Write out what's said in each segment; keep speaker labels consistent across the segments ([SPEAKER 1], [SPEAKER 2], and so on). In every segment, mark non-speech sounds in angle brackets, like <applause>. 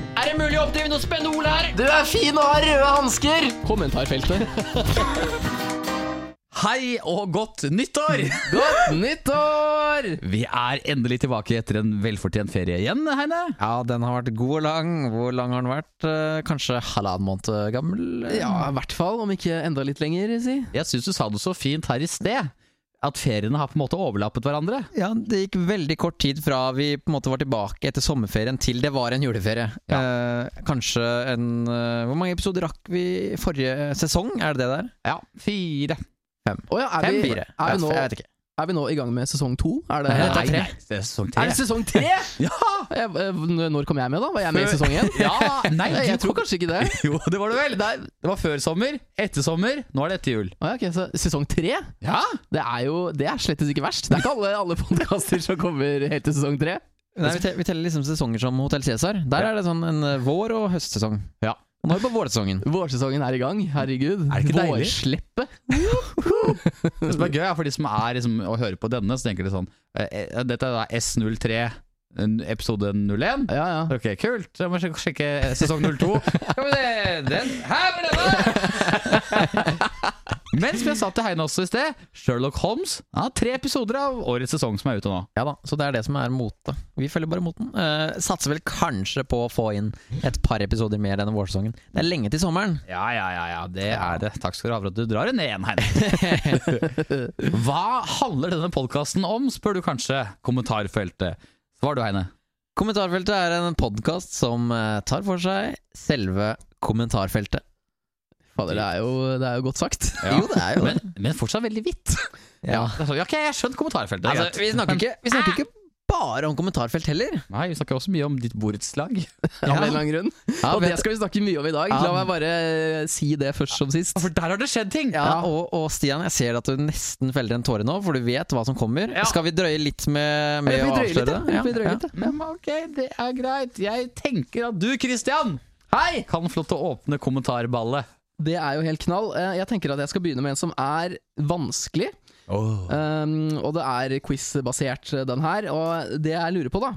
[SPEAKER 1] legger opp til noe spennende ord her.
[SPEAKER 2] Du er fin og har røde hansker!
[SPEAKER 1] Kommentarfeltet.
[SPEAKER 3] Hei og godt <laughs> nyttår!
[SPEAKER 2] Godt nyttår!
[SPEAKER 3] Vi er endelig tilbake etter en velfortjent ferie igjen, Heine.
[SPEAKER 2] Ja, den har vært god og lang. Hvor lang har den vært? Eh, Kanskje halvannen måned gammel?
[SPEAKER 1] Ja, i hvert fall, om ikke enda litt lenger, si.
[SPEAKER 3] Jeg syns du sa det så fint her i sted. At feriene har på en måte overlappet hverandre.
[SPEAKER 2] Ja, det gikk veldig kort tid fra vi på en måte var tilbake etter sommerferien til det var en juleferie. Eh, kanskje en eh, Hvor mange episoder rakk vi i forrige sesong? Er det det der?
[SPEAKER 3] Ja, fire.
[SPEAKER 1] Å ja, er, vi,
[SPEAKER 2] Fem-fire?
[SPEAKER 1] er, vi nå,
[SPEAKER 2] Jeg vet ikke.
[SPEAKER 1] er vi nå i gang med sesong to? Er det,
[SPEAKER 2] Nei, dette er tre.
[SPEAKER 3] nei, det er sesong
[SPEAKER 1] Er det sesong tre?
[SPEAKER 3] <laughs> Ja!
[SPEAKER 1] Jeg, eh, når kom jeg med, da? Var jeg med i sesong én?
[SPEAKER 3] Ja, nei,
[SPEAKER 1] Nei, jeg
[SPEAKER 3] du
[SPEAKER 1] tror kanskje ikke det.
[SPEAKER 3] Jo, det var det vel. Det, er, det var før sommer, etter sommer, nå er det etter jul.
[SPEAKER 1] Å ja, ok, så Sesong tre
[SPEAKER 3] Ja,
[SPEAKER 1] det er jo Det er slettes ikke verst. Det er ikke alle, alle podkaster som kommer helt til sesong tre.
[SPEAKER 2] Nei, vi, te vi teller liksom sesonger som Hotell Cæsar. Der
[SPEAKER 3] Ja.
[SPEAKER 2] er det sånn en eh, vår- og høstsesong.
[SPEAKER 3] Ja.
[SPEAKER 2] Og nå er vi på vårsesongen.
[SPEAKER 1] Vårsesongen er i gang. Herregud.
[SPEAKER 3] Er det ikke deilig?
[SPEAKER 1] Vårsleppet.
[SPEAKER 3] Det som er gøy, er for de som er liksom, og hører på denne, så tenker de sånn eh, eh, Dette er da S03, en- episode 01.
[SPEAKER 1] Ja, ja.
[SPEAKER 3] Ok, kult. Jeg må sjek- sjekke eh, sesong <laughs> 02. Skal vi se, den her var denne! <laughs> Men som jeg sa til Heine også i sted, Sherlock Holmes han har tre episoder av årets sesong som er ute nå.
[SPEAKER 2] Ja da, Så det er det som er mote. Vi følger bare moten. Eh, satser vel kanskje på å få inn et par episoder mer denne vårsesongen. Det er lenge til
[SPEAKER 1] <laughs>
[SPEAKER 2] sommeren.
[SPEAKER 3] Ja, ja, ja, ja, det er det. Takk skal du ha for at du drar det ned igjen, Heine. <laughs> Hva handler denne podkasten om, spør du kanskje. Kommentarfeltet. Svar du, Heine.
[SPEAKER 2] Kommentarfeltet er en podkast som eh, tar for seg selve kommentarfeltet.
[SPEAKER 1] Fader, det er jo, det er jo godt sagt.
[SPEAKER 2] Jo, det er jo det.
[SPEAKER 3] Men, men fortsatt veldig hvitt.
[SPEAKER 2] Ja.
[SPEAKER 3] Det er sånn, Ja, ok, jeg skjønner kommentarfeltet. det er
[SPEAKER 2] <laughs> Altså, vi, snakker ikke, vi snakker ikke bare om kommentarfelt heller.
[SPEAKER 3] greit. Nei, vi snakker også mye om ditt borettslag.
[SPEAKER 1] Av en eller annen grunn.
[SPEAKER 2] Ja,
[SPEAKER 1] Og det skal vi snakke mye om i dag.
[SPEAKER 2] Ja.
[SPEAKER 1] La meg bare eh, si det først som sist.
[SPEAKER 3] For der har det skjedd ting!
[SPEAKER 2] ja, og, og Stian, jeg ser at du nesten feller en tåre nå, for du vet hva som kommer.
[SPEAKER 3] Ja.
[SPEAKER 2] Skal vi drøye litt med, med å
[SPEAKER 1] Eller får vi drøye litt,
[SPEAKER 2] avsløre
[SPEAKER 1] da?
[SPEAKER 2] det?
[SPEAKER 1] Eller får vi drøye litt, da?
[SPEAKER 3] Men ok, det er greit. Jeg tenker at du, Christian, hei, kan få lov til å åpne kommentarballet.
[SPEAKER 1] Det er jo helt knall. Eh, Jeg tenker at jeg skal begynne med en som er vanskelig. Um, og det er quiz-basert, eh, den her. Og det jeg lurer på, da,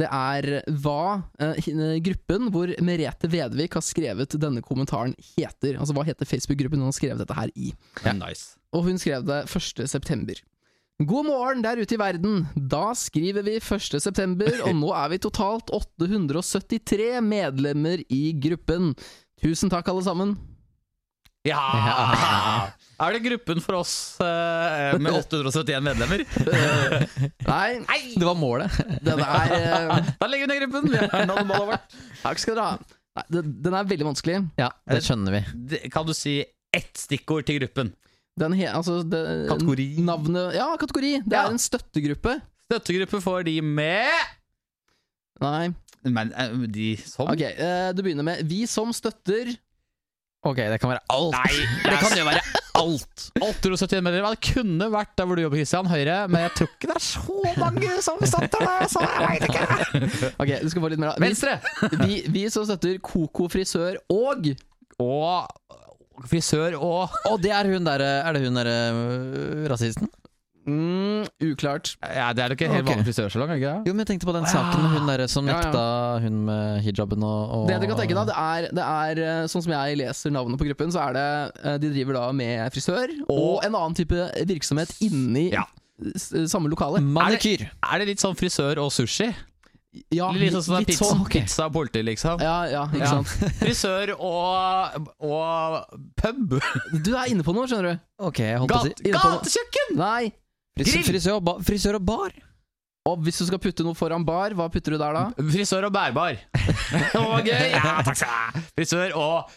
[SPEAKER 1] det er hva eh, hin- gruppen hvor Merete Vedvik har skrevet denne kommentaren, heter. Altså hva heter Facebook-gruppen hun har skrevet dette her i.
[SPEAKER 3] Ja, nice.
[SPEAKER 1] Og hun skrev det 1. september. God morgen der ute i verden! Da skriver vi 1. september, og nå er vi totalt 873 medlemmer i gruppen. Tusen takk, alle sammen.
[SPEAKER 3] Ja! Er det gruppen for oss eh, med 871 <laughs> medlemmer?
[SPEAKER 1] Nei,
[SPEAKER 2] Det var målet. <laughs>
[SPEAKER 1] den er
[SPEAKER 3] <laughs>
[SPEAKER 1] eh,
[SPEAKER 3] Da legger vi ned gruppen! Vi har nådd målet vårt.
[SPEAKER 1] Takk skal dere ha. Nei, den- den er veldig vanskelig.
[SPEAKER 2] Ja, det skjønner vi.
[SPEAKER 3] Det- Kan du si ett stikkord til gruppen?
[SPEAKER 1] Den he, altså, det,
[SPEAKER 3] Kategori?
[SPEAKER 1] Navnet Ja, kategori! Det
[SPEAKER 3] Ja.
[SPEAKER 1] er en støttegruppe.
[SPEAKER 3] Støttegruppe for de med
[SPEAKER 1] Nei.
[SPEAKER 3] Men eh, de som
[SPEAKER 1] Ok, eh, du begynner med 'Vi som støtter'.
[SPEAKER 2] Ok, det kan være alt.
[SPEAKER 3] Nei, det,
[SPEAKER 2] Det kan
[SPEAKER 3] jo være alt! <laughs> 871 medlemmer. Det kunne vært der hvor du jobber, Christian. Høyre. Men jeg tror ikke det er så mange som støtter det. Så jeg vet ikke.
[SPEAKER 1] Ok, du skal få litt mer da. vi,
[SPEAKER 3] Venstre!
[SPEAKER 1] vi, vi som støtter Koko frisør og
[SPEAKER 3] og frisør og
[SPEAKER 2] Og det er hun der, eh, er det hun der øh, rasisten?
[SPEAKER 1] mm, Uklart.
[SPEAKER 3] ja, Det er jo ikke en helt
[SPEAKER 2] Ok.
[SPEAKER 3] vanlig frisørsalong? er det ikke det?
[SPEAKER 2] Jo, men jeg tenkte på den saken med hun der som
[SPEAKER 1] Ja, ja.
[SPEAKER 2] nekta hun med hijaben og, og
[SPEAKER 1] Det du kan tenke da, det er, det er eh, sånn som jeg leser navnet på gruppen, så er det eh, De driver da med frisør og en annen type virksomhet inni
[SPEAKER 3] Ja.
[SPEAKER 1] s- eh, samme lokale.
[SPEAKER 2] Manikyr!
[SPEAKER 3] Er det litt sånn frisør og sushi?
[SPEAKER 1] Ja,
[SPEAKER 3] litt sånn som det er pizza,
[SPEAKER 1] sånn.
[SPEAKER 3] pizza og politi, liksom?
[SPEAKER 1] Ja, ja, ikke
[SPEAKER 3] Ja.
[SPEAKER 1] sant.
[SPEAKER 3] <laughs> Frisør og, og pub.
[SPEAKER 1] Du er inne på noe, skjønner du.
[SPEAKER 2] Ok, jeg holdt på å si
[SPEAKER 3] Gat, gatekjøkken!
[SPEAKER 1] Nei.
[SPEAKER 2] Frisør,
[SPEAKER 3] grill!
[SPEAKER 2] frisør, og ba, frisør og bar!
[SPEAKER 1] Og hvis du skal putte noe foran bar, hva putter du der da?
[SPEAKER 3] Frisør og <laughs> bærbar. Det var gøy! Ja, takk skal du ha. Frisør og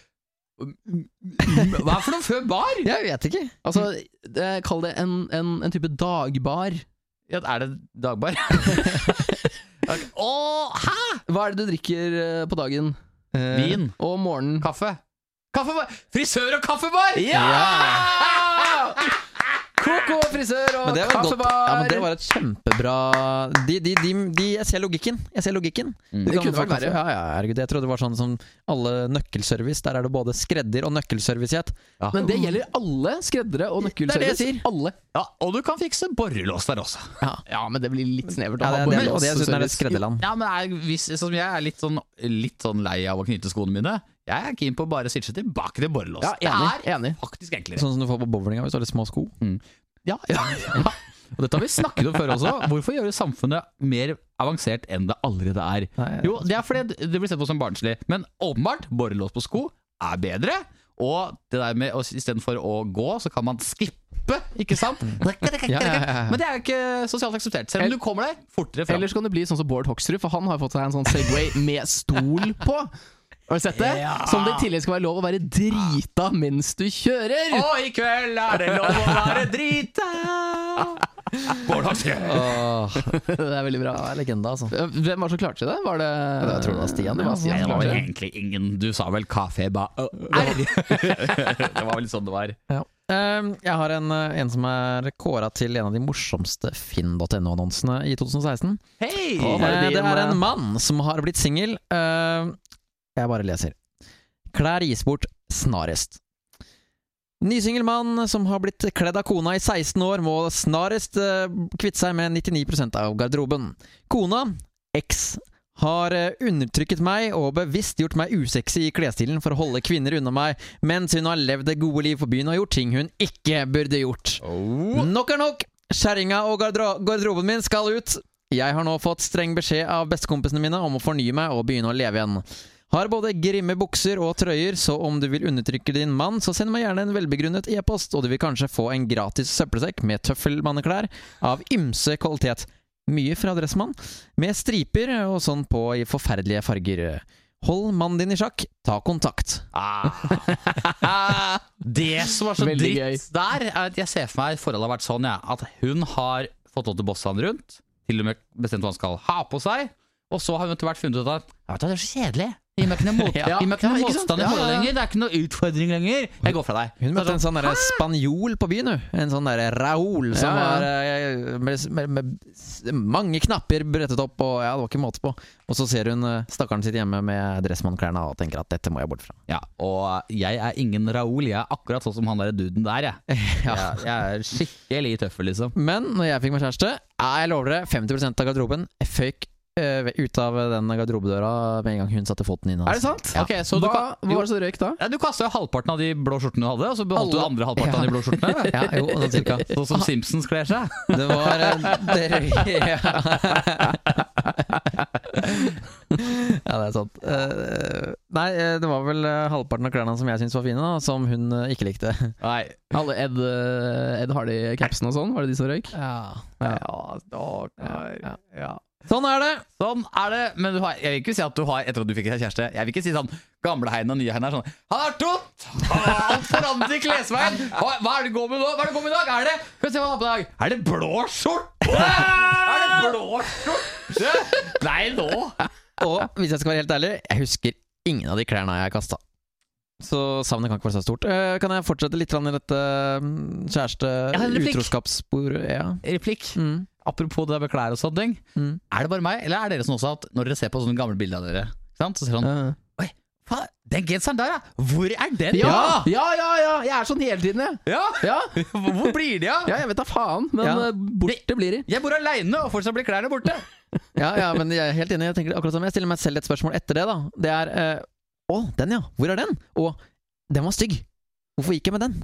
[SPEAKER 3] Hva er for noe før bar?
[SPEAKER 2] Jeg vet ikke.
[SPEAKER 1] Altså, eh, kall det en, en, en type dagbar.
[SPEAKER 3] Ja, er det <laughs> dagbar? Ok. Å, hæ?
[SPEAKER 1] Hva er det du drikker eh, på dagen
[SPEAKER 2] Eh,
[SPEAKER 3] Vin.
[SPEAKER 1] og morgenen?
[SPEAKER 3] Kaffe. Kaffebar. Frisør og kaffebar!
[SPEAKER 2] Ja!
[SPEAKER 3] Ja!
[SPEAKER 1] Koko frisør og
[SPEAKER 2] Men det var, godt.
[SPEAKER 1] kaffebar!
[SPEAKER 2] Ja, men det var et kjempebra de, de, de, de, Jeg ser logikken. Jeg ser logikken.
[SPEAKER 3] Mm.
[SPEAKER 1] Det
[SPEAKER 2] kan
[SPEAKER 1] kunne
[SPEAKER 2] få
[SPEAKER 1] vært
[SPEAKER 2] kaffe.
[SPEAKER 1] verre.
[SPEAKER 2] Ja, ja, herregud, jeg trodde det var sånn som alle nøkkelservice. Der er det både skredder og nøkkelservice i ett.
[SPEAKER 1] Men det gjelder alle skreddere og nøkkelservice.
[SPEAKER 2] Det er det jeg sier.
[SPEAKER 1] Alle.
[SPEAKER 3] Ja, og du kan fikse borrelås der også.
[SPEAKER 1] Ja, men det blir litt snevert. å
[SPEAKER 2] Ja,
[SPEAKER 1] ha
[SPEAKER 2] det, det, og det jeg synes er litt
[SPEAKER 1] borrelåsservice.
[SPEAKER 2] skredderland.
[SPEAKER 3] Ja, men er, hvis, sånn, Jeg er litt sånn, litt sånn lei av å knyte skoene mine. Jeg er keen på å bare sitte tilbake til borrelås.
[SPEAKER 1] Ja, enig. enig.
[SPEAKER 3] Det er faktisk enklere.
[SPEAKER 2] Sånn som du får på bowlinga hvis du har litt små sko.
[SPEAKER 3] Ja, ja, ja. Og dette har vi snakket om før også. Hvorfor gjøre samfunnet mer avansert enn det allerede er?
[SPEAKER 2] Nei,
[SPEAKER 3] Jo, det er fordi det blir sett på som barnslig. Men åpenbart, borrelås på sko er bedre. Og det der med å- istedenfor å gå, så kan man skippe, ikke sant? Men det er jo ikke sosialt akseptert. Selv om du kommer deg fortere fram.
[SPEAKER 1] Ellers kan det bli sånn som Bård Hoksrud, for han har fått seg en sånn Segway med stol på. Har du sett det?
[SPEAKER 3] Ja.
[SPEAKER 1] Som det i tillegg skal være lov å være drita mens du kjører!
[SPEAKER 3] Og i kveld er det lov å være drita! Bård Hoksrud.
[SPEAKER 2] Åh,
[SPEAKER 1] Det er veldig bra.
[SPEAKER 2] <laughs> det er legende, altså.
[SPEAKER 1] Eh, Hvem var det som klarte det? Var det
[SPEAKER 2] Jeg tror det var Stian, ja.
[SPEAKER 1] Det var Stian
[SPEAKER 3] Det var
[SPEAKER 1] som klarte
[SPEAKER 3] vel
[SPEAKER 1] det.
[SPEAKER 3] egentlig ingen Du sa vel kafé ba... Er. <laughs> Det var vel sånn det var.
[SPEAKER 2] Ehm, jeg har en, eh, en som er kåra til en av de morsomste finn.no-annonsene i 2016.
[SPEAKER 3] Hei!
[SPEAKER 1] Å, var det
[SPEAKER 2] Eh,
[SPEAKER 1] de
[SPEAKER 2] det er
[SPEAKER 1] om, eh,
[SPEAKER 2] en mann som har blitt singel. Ehm, jeg bare leser. Klær gis bort snarest. Nysingel mann som har blitt kledd av kona i 16 år, må snarest eh, kvitte seg med 99 av garderoben. Kona, X, har eh, undertrykket meg og bevisst gjort meg usexy i klesstilen for å holde kvinner unna meg, mens hun har levd det gode liv på byen og gjort ting hun ikke burde gjort. Nok er nok! Kjerringa og gardero garderoben min skal ut. Jeg har nå fått streng beskjed av bestekompisene mine om å fornye meg og begynne å leve igjen. Har både grimme bukser og trøyer, så om du vil undertrykke din mann, så send meg gjerne en velbegrunnet e-post, og du vil kanskje få en gratis søppelsekk med tøffelmanneklær av ymse kvalitet. Mye fra Dressmann, med striper og sånn på i forferdelige farger. Hold mannen din i sjakk, ta kontakt.
[SPEAKER 3] Ah. Det som var så
[SPEAKER 1] Veldig
[SPEAKER 3] dritt
[SPEAKER 1] gøy.
[SPEAKER 3] der, er at jeg ser for meg forholdet har vært sånn, ja, at hun har fått lov til å bosse han rundt, til og med bestemt hva han skal ha på seg, og så har hun etter hvert funnet ut at «Jeg vet, hva, det er så kjedelig. Det gir meg ikke noe, mot,
[SPEAKER 1] <laughs> Ja.
[SPEAKER 3] gir meg ikke noe
[SPEAKER 1] Ja, ikke sant?
[SPEAKER 3] motstand i
[SPEAKER 1] Ja, ja,
[SPEAKER 3] forholdet
[SPEAKER 1] ja.
[SPEAKER 3] lenger, det er ikke noe utfordring lenger. Jeg går fra deg.
[SPEAKER 2] Hun
[SPEAKER 3] Så er
[SPEAKER 2] møtte
[SPEAKER 3] det
[SPEAKER 2] en sånn derre spanjol på byen, hun. En sånn derre Raoul som
[SPEAKER 1] Ja, ja.
[SPEAKER 2] var eh, med, med, med s- mange knapper brettet opp, og ja, det var ikke måte på. Og så ser hun eh, stakkaren sitt hjemme med dressmannklærne og tenker at dette må jeg bort fra.
[SPEAKER 3] Ja, og jeg er ingen Raoul, jeg er akkurat sånn som han der duden der, jeg.
[SPEAKER 2] <laughs>
[SPEAKER 3] Jeg, jeg er skikkelig tøffel, liksom.
[SPEAKER 2] Men når jeg fikk meg kjæreste, ja, jeg lover dere, 50 av garderoben føyk eh, ut av den garderobedøra med en gang hun satte foten inn.
[SPEAKER 1] Er det sant?
[SPEAKER 2] Ja.
[SPEAKER 3] Ok, så du,
[SPEAKER 1] Hva,
[SPEAKER 3] kan,
[SPEAKER 1] hva var det som røyk da?
[SPEAKER 3] ja, du kastet jo halvparten av de blå skjortene du hadde, og så beholdt du den
[SPEAKER 2] Alle-
[SPEAKER 3] andre halvparten av de blå skjortene.
[SPEAKER 2] <laughs> Ja, jo, sånn cirka.
[SPEAKER 3] Sånn som Simpsons kler seg.
[SPEAKER 2] Det var eh, det røy- <laughs> ja. ja, det er sant. Eh, nei, eh, det var vel eh, halvparten av klærne som jeg syntes var fine, da, som hun eh, ikke likte.
[SPEAKER 3] Nei,
[SPEAKER 1] Alle Ed, eh, Ed Hardy-capsene og sånn, var det de som røyk? Ja.
[SPEAKER 3] ja.
[SPEAKER 2] Sånn er det!
[SPEAKER 3] Sånn er det. Men du har, jeg vil ikke si at du har etter at du fikk deg kjæreste Jeg vil ikke si sånn gamleheien og nyeheien er sånn Han er tott! Alt forandrer i klesveien! Hva, hva er det du går med nå? Hva er det du går med i dag? Er det Skal vi se hva han har på i dag? Er det blå skjorte? Er det blå skjorte? Nei, nå!
[SPEAKER 2] Og hvis jeg skal være helt ærlig, jeg husker ingen av de klærne jeg kasta. Så savnet kan ikke være så stort. Eh, kan jeg fortsette litt grann i dette mm,
[SPEAKER 3] Jeg har en replikk.
[SPEAKER 2] kjæreste-utroskapssporet? Ja.
[SPEAKER 3] Replikk.
[SPEAKER 2] Mm.
[SPEAKER 3] Apropos det med klær og sånne ting.
[SPEAKER 2] Mm.
[SPEAKER 3] Er det bare meg, eller er det dere som også at når dere ser på sånne gamle bilder av dere, ikke sant? så ser dere sånn
[SPEAKER 1] Ja.
[SPEAKER 3] Faen, den genseren der, ja! Hvor er den?
[SPEAKER 1] Ja, ja, ja, ja! Jeg er sånn hele tiden, jeg.
[SPEAKER 3] ja.
[SPEAKER 1] Ja.
[SPEAKER 3] Hvor blir de av?
[SPEAKER 1] ja, jeg vet da faen, men
[SPEAKER 2] Ja.
[SPEAKER 1] eh, borte blir de.
[SPEAKER 3] Jeg bor aleine, og fortsatt blir klærne borte.
[SPEAKER 2] Ja, ja, men jeg er helt enig. Jeg tenker akkurat som jeg stiller meg selv et spørsmål etter det. da Det er eh, Å, den, ja! Hvor er den? Og den var stygg! Hvorfor gikk jeg med den?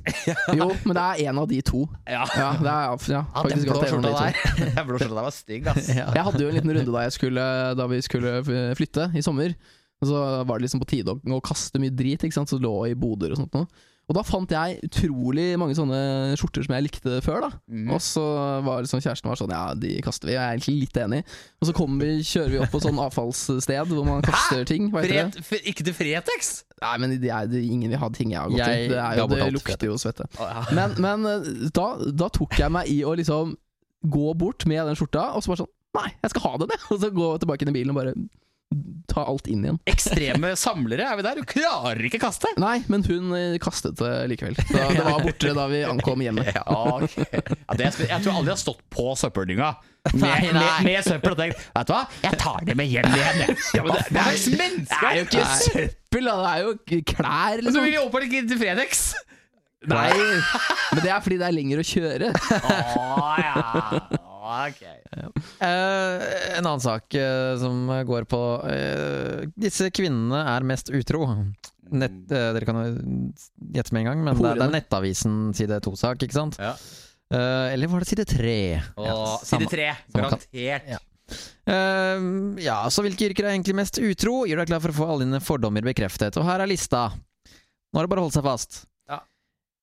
[SPEAKER 1] Jo, men det er en av de to.
[SPEAKER 3] Ja,
[SPEAKER 1] Ja, det er ja,
[SPEAKER 3] Ja, den
[SPEAKER 1] faktisk
[SPEAKER 3] blå
[SPEAKER 1] godt det er en
[SPEAKER 3] skjorta
[SPEAKER 1] av de to.
[SPEAKER 3] der Den blå skjorta der var stygg,
[SPEAKER 2] <laughs>
[SPEAKER 3] ass.
[SPEAKER 1] Jeg hadde jo en liten runde da, jeg skulle, da vi skulle f- flytte i sommer. Og så var det liksom på tide å å kaste mye drit, ikke sant? så det lå i boder og sånt noe. Og da fant jeg utrolig mange sånne skjorter som jeg likte før. da
[SPEAKER 3] Mm.
[SPEAKER 1] Og så var liksom kjæresten var sånn Ja, de kaster vi. Jeg er egentlig litt enig. Og så kommer vi, kjører vi opp på sånn avfallssted hvor man kaster ting. Hva heter det?
[SPEAKER 3] Fret, f- ikke til Fretex?
[SPEAKER 1] Nei, men det er, det, ingen vil ha ting jeg har gått
[SPEAKER 2] Jeg
[SPEAKER 1] til. Det, er jo,
[SPEAKER 2] ga bort
[SPEAKER 1] det
[SPEAKER 2] alt, vet
[SPEAKER 1] lukter jo svette.
[SPEAKER 3] Ja.
[SPEAKER 1] Men, men eh, da, da tok jeg meg i å liksom <laughs> gå bort med den skjorta, og så bare sånn Nei, jeg skal ha den, jeg! Og så gå tilbake inn i bilen og bare ta alt inn igjen.
[SPEAKER 3] Ekstreme samlere, er vi der? Du klarer ikke kaste!
[SPEAKER 1] Nei, men hun eh, kastet det likevel. Så det var borte da vi ankom hjemmet.
[SPEAKER 3] Ja, ok. ja, det er spe- jeg tror aldri jeg har stått på søppeldynga med,
[SPEAKER 2] Nei,
[SPEAKER 3] med,
[SPEAKER 2] nei.
[SPEAKER 3] med søppel og tenkt Vet du hva, jeg tar det med hjem igjen, jeg. Hva
[SPEAKER 1] det er-
[SPEAKER 3] slags menneske
[SPEAKER 1] Det er jo ikke søppel, da. Det er jo k- klær,
[SPEAKER 3] Og så
[SPEAKER 1] liksom.
[SPEAKER 3] vil jeg åpenbart ikke til Fredex!
[SPEAKER 1] Nei, men det er fordi det er lenger å kjøre.
[SPEAKER 3] Å ja. Ok.
[SPEAKER 2] Eh, en annen sak eh, som går på eh, Disse kvinnene er mest utro. Nett,
[SPEAKER 3] Mm.
[SPEAKER 2] eh, dere kan jo gjette med en gang, men det, er- det er Nettavisen side to-sak, ikke sant?
[SPEAKER 3] Ja.
[SPEAKER 2] Eh, eller var det side tre?
[SPEAKER 3] Og
[SPEAKER 2] samme.
[SPEAKER 3] side tre.
[SPEAKER 2] Samme kant.
[SPEAKER 3] Garantert.
[SPEAKER 2] Ja. Eh, ja, så hvilke yrker er egentlig mest utro? Gjør deg klar for å få alle dine fordommer bekreftet. Og her er lista. Nå er det bare å holde seg fast.
[SPEAKER 3] Ja.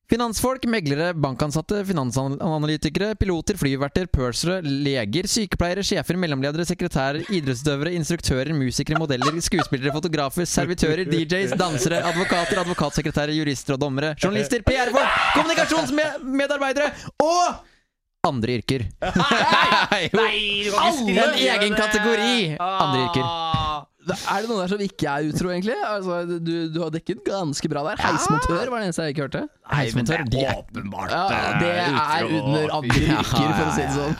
[SPEAKER 2] Finansfolk, meglere, bankansatte, finansanalytikere, piloter, flyverter, pursere, leger, sykepleiere, sjefer, mellomledere, sekretærer, idrettsutøvere, instruktører, musikere, modeller, skuespillere, fotografer, servitører, DJs, dansere, advokater, advokatsekretærer, jurister og dommere, journalister, PR-folk, kommunikasjonsmedarbeidere og andre yrker.
[SPEAKER 3] Nei, du kan ikke
[SPEAKER 2] Alle en
[SPEAKER 3] skrive
[SPEAKER 2] egen
[SPEAKER 3] det.
[SPEAKER 2] kategori. Andre yrker.
[SPEAKER 3] Ah.
[SPEAKER 1] Er det noen der som ikke er utro, egentlig? Altså, du, du har dekket ganske bra der. Heismontør var det eneste jeg ikke hørte.
[SPEAKER 3] Nei, men det
[SPEAKER 2] Heismontør, de
[SPEAKER 3] er
[SPEAKER 2] er
[SPEAKER 3] åpenbart
[SPEAKER 1] Ja, det er
[SPEAKER 3] utro.
[SPEAKER 1] under andre
[SPEAKER 3] Fy.
[SPEAKER 1] yrker, for å si det sånn.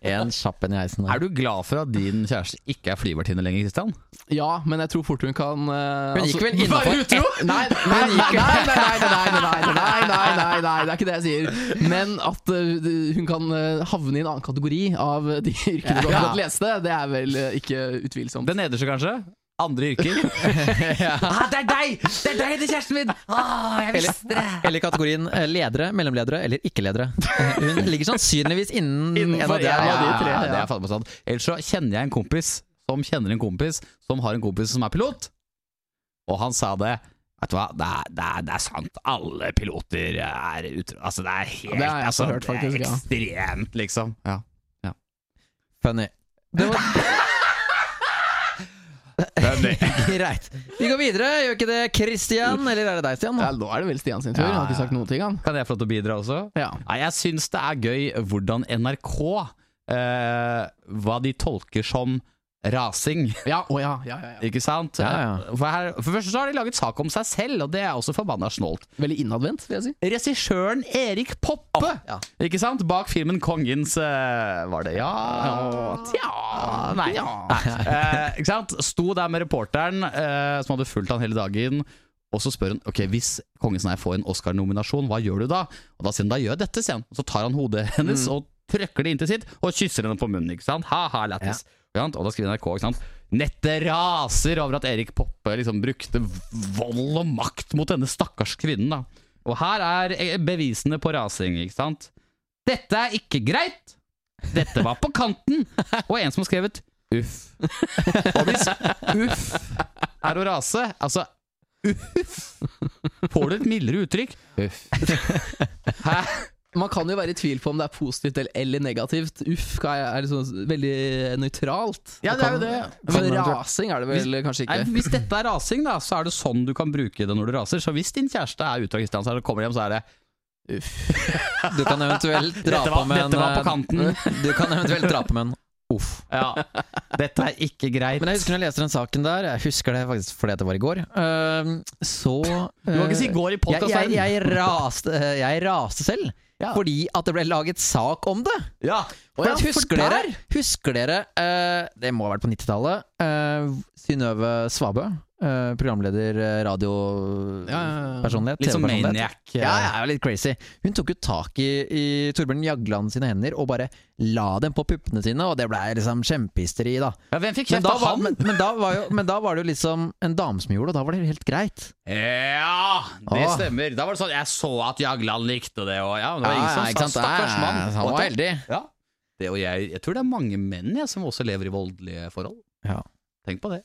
[SPEAKER 2] en kjapp en i heisen.
[SPEAKER 3] Er du glad for at din kjæreste ikke er flyvertinne lenger, Kristian?
[SPEAKER 1] Ja, men jeg tror fort hun kan eh, Hun
[SPEAKER 2] Hun gikk vel innenfor
[SPEAKER 1] Nei, <laughs> nei, nei, nei, nei, nei, nei, nei, nei, nei, nei, nei, nei, det er ikke det jeg sier. Men at eh, hun kan eh, havne i en annen kategori av de yrkene du akkurat leste, det er vel eh, ikke utvilsomt.
[SPEAKER 3] Den nederste, kanskje? Andre <laughs> yrker? ah, det er deg! Det er deg, det er kjæresten min! Ah, jeg visste det!
[SPEAKER 2] Eller kategorien eh, ledere, mellomledere eller ikke-ledere. Eh, Hun ligger sannsynligvis innen en av
[SPEAKER 1] Innenfor
[SPEAKER 2] de
[SPEAKER 1] en av de tre,
[SPEAKER 2] ja.
[SPEAKER 1] ja.
[SPEAKER 3] det er faen meg sant. Ellers så kjenner jeg en kompis som kjenner en kompis som har en kompis som er pilot, og han sa det. Vet du hva, det er, det, er, det er sant. Alle piloter er utro... Altså, det er helt
[SPEAKER 1] Ja, det har jeg også
[SPEAKER 3] altså,
[SPEAKER 1] hørt, faktisk,
[SPEAKER 3] Det
[SPEAKER 1] ja.
[SPEAKER 3] er ekstremt, liksom. Ja.
[SPEAKER 2] Funny. Det var <laughs> greit. Vi går videre, gjør ikke det Christian? Eller er det deg, Stian?
[SPEAKER 1] Ja, nå er det vel Stian sin tur. Han har ikke sagt noen ting, han.
[SPEAKER 3] Kan jeg få lov til å bidra også?
[SPEAKER 1] Ja.
[SPEAKER 3] Nei, jeg syns det er gøy hvordan NRK eh, Hva de tolker som rasing, <laughs>
[SPEAKER 1] Ja, å ja, ja, ja, ja.
[SPEAKER 3] ikke sant?
[SPEAKER 2] Ja, ja.
[SPEAKER 3] For, her, for det første så har de laget sak om seg selv, og det er også forbanna snålt.
[SPEAKER 1] Veldig innadvendt, vil jeg si.
[SPEAKER 3] Regissøren Erik Poppe,
[SPEAKER 2] ja.
[SPEAKER 3] ikke sant? Bak filmen 'Kongens' eh, Var det ja? Tja Nei. nei. Eh, ikke sant? Sto der med reporteren, eh, som hadde fulgt han hele dagen. Og så spør hun ok, hvis Kongens nei får en Oscar-nominasjon, hva gjør du da? Og da sier hun da gjør jeg dette, sier han. Og så tar han hodet hennes og trøkker det inntil sitt og kysser henne på munnen. ikke sant? Ha-ha, lættis. Ikke sant? Og da skriver NRK ikke sant? Nettet raser over at Erik Poppe liksom brukte vold og makt mot denne stakkars kvinnen. da. Og her er eh, bevisene på rasing, ikke sant? Dette er ikke greit! Dette var på kanten!
[SPEAKER 2] <laughs>
[SPEAKER 3] Og en som har skrevet uff. Og hvis uff er å rase, altså uff Får du et mildere uttrykk? Uff. Hæ?
[SPEAKER 1] Man kan jo være i tvil på om det er positivt eller- eller negativt. Uff hva er er liksom veldig nøytralt.
[SPEAKER 3] Ja, det er jo det.
[SPEAKER 1] For rasing er det vel kanskje
[SPEAKER 3] Nei,
[SPEAKER 1] ikke.
[SPEAKER 3] hvis dette er rasing, da, så er det sånn du kan bruke det når du raser. Så hvis din kjæreste er ute av Kristiansand og kommer hjem, så er det
[SPEAKER 2] Du kan eventuelt dra
[SPEAKER 3] Dette var-
[SPEAKER 2] på med en
[SPEAKER 3] dette var på kanten.
[SPEAKER 2] eh, Du kan eventuelt dra på med en uff.
[SPEAKER 3] Ja, dette er ikke greit.
[SPEAKER 2] Men jeg husker når jeg leste den saken der, jeg husker det faktisk fordi at det var i går, eh, så
[SPEAKER 3] du kan ikke si
[SPEAKER 2] eh,
[SPEAKER 3] 'går' i
[SPEAKER 2] jeg, jeg,
[SPEAKER 3] podkasten.
[SPEAKER 2] jeg, raste, eh, jeg raste selv,
[SPEAKER 3] Ja.
[SPEAKER 2] fordi at det ble laget sak om det.
[SPEAKER 3] Ja.
[SPEAKER 2] For at husker, dere, husker dere eh, Det må ha vært på 90-tallet. eh, Synnøve Svabø, eh, programleder, eh,
[SPEAKER 1] Ja, ja, ja.
[SPEAKER 2] radiopersonlighet.
[SPEAKER 3] Litt sånn
[SPEAKER 2] TV-personlighet.
[SPEAKER 3] maniac. eh,
[SPEAKER 2] Ja, ja, det var litt crazy. Hun tok jo tak i, i Torbjørn Jagland sine hender og bare la dem på puppene sine, og det ble liksom kjempehysteri, da.
[SPEAKER 3] Ja, hvem fikk kjeft
[SPEAKER 2] Men da,
[SPEAKER 3] av
[SPEAKER 2] var,
[SPEAKER 3] han?
[SPEAKER 2] men, men, da var jo, men da var det jo liksom en dame som gjorde det, og da var det helt greit.
[SPEAKER 3] Ja, det
[SPEAKER 2] Åh.
[SPEAKER 3] stemmer. Da var det sånn, Jeg så at Jagland likte det, og ja, men det var
[SPEAKER 2] Ja, ja,
[SPEAKER 3] ingen
[SPEAKER 2] ikke
[SPEAKER 3] som
[SPEAKER 2] sant?
[SPEAKER 3] sa 'stakkars
[SPEAKER 2] Ja,
[SPEAKER 3] mann'.
[SPEAKER 2] han
[SPEAKER 3] Og
[SPEAKER 2] var
[SPEAKER 3] at-
[SPEAKER 2] heldig.
[SPEAKER 3] Ja. Det, og jeg, jeg tror det er mange menn jeg, som også lever i voldelige forhold.
[SPEAKER 2] Ja.
[SPEAKER 3] Tenk på det.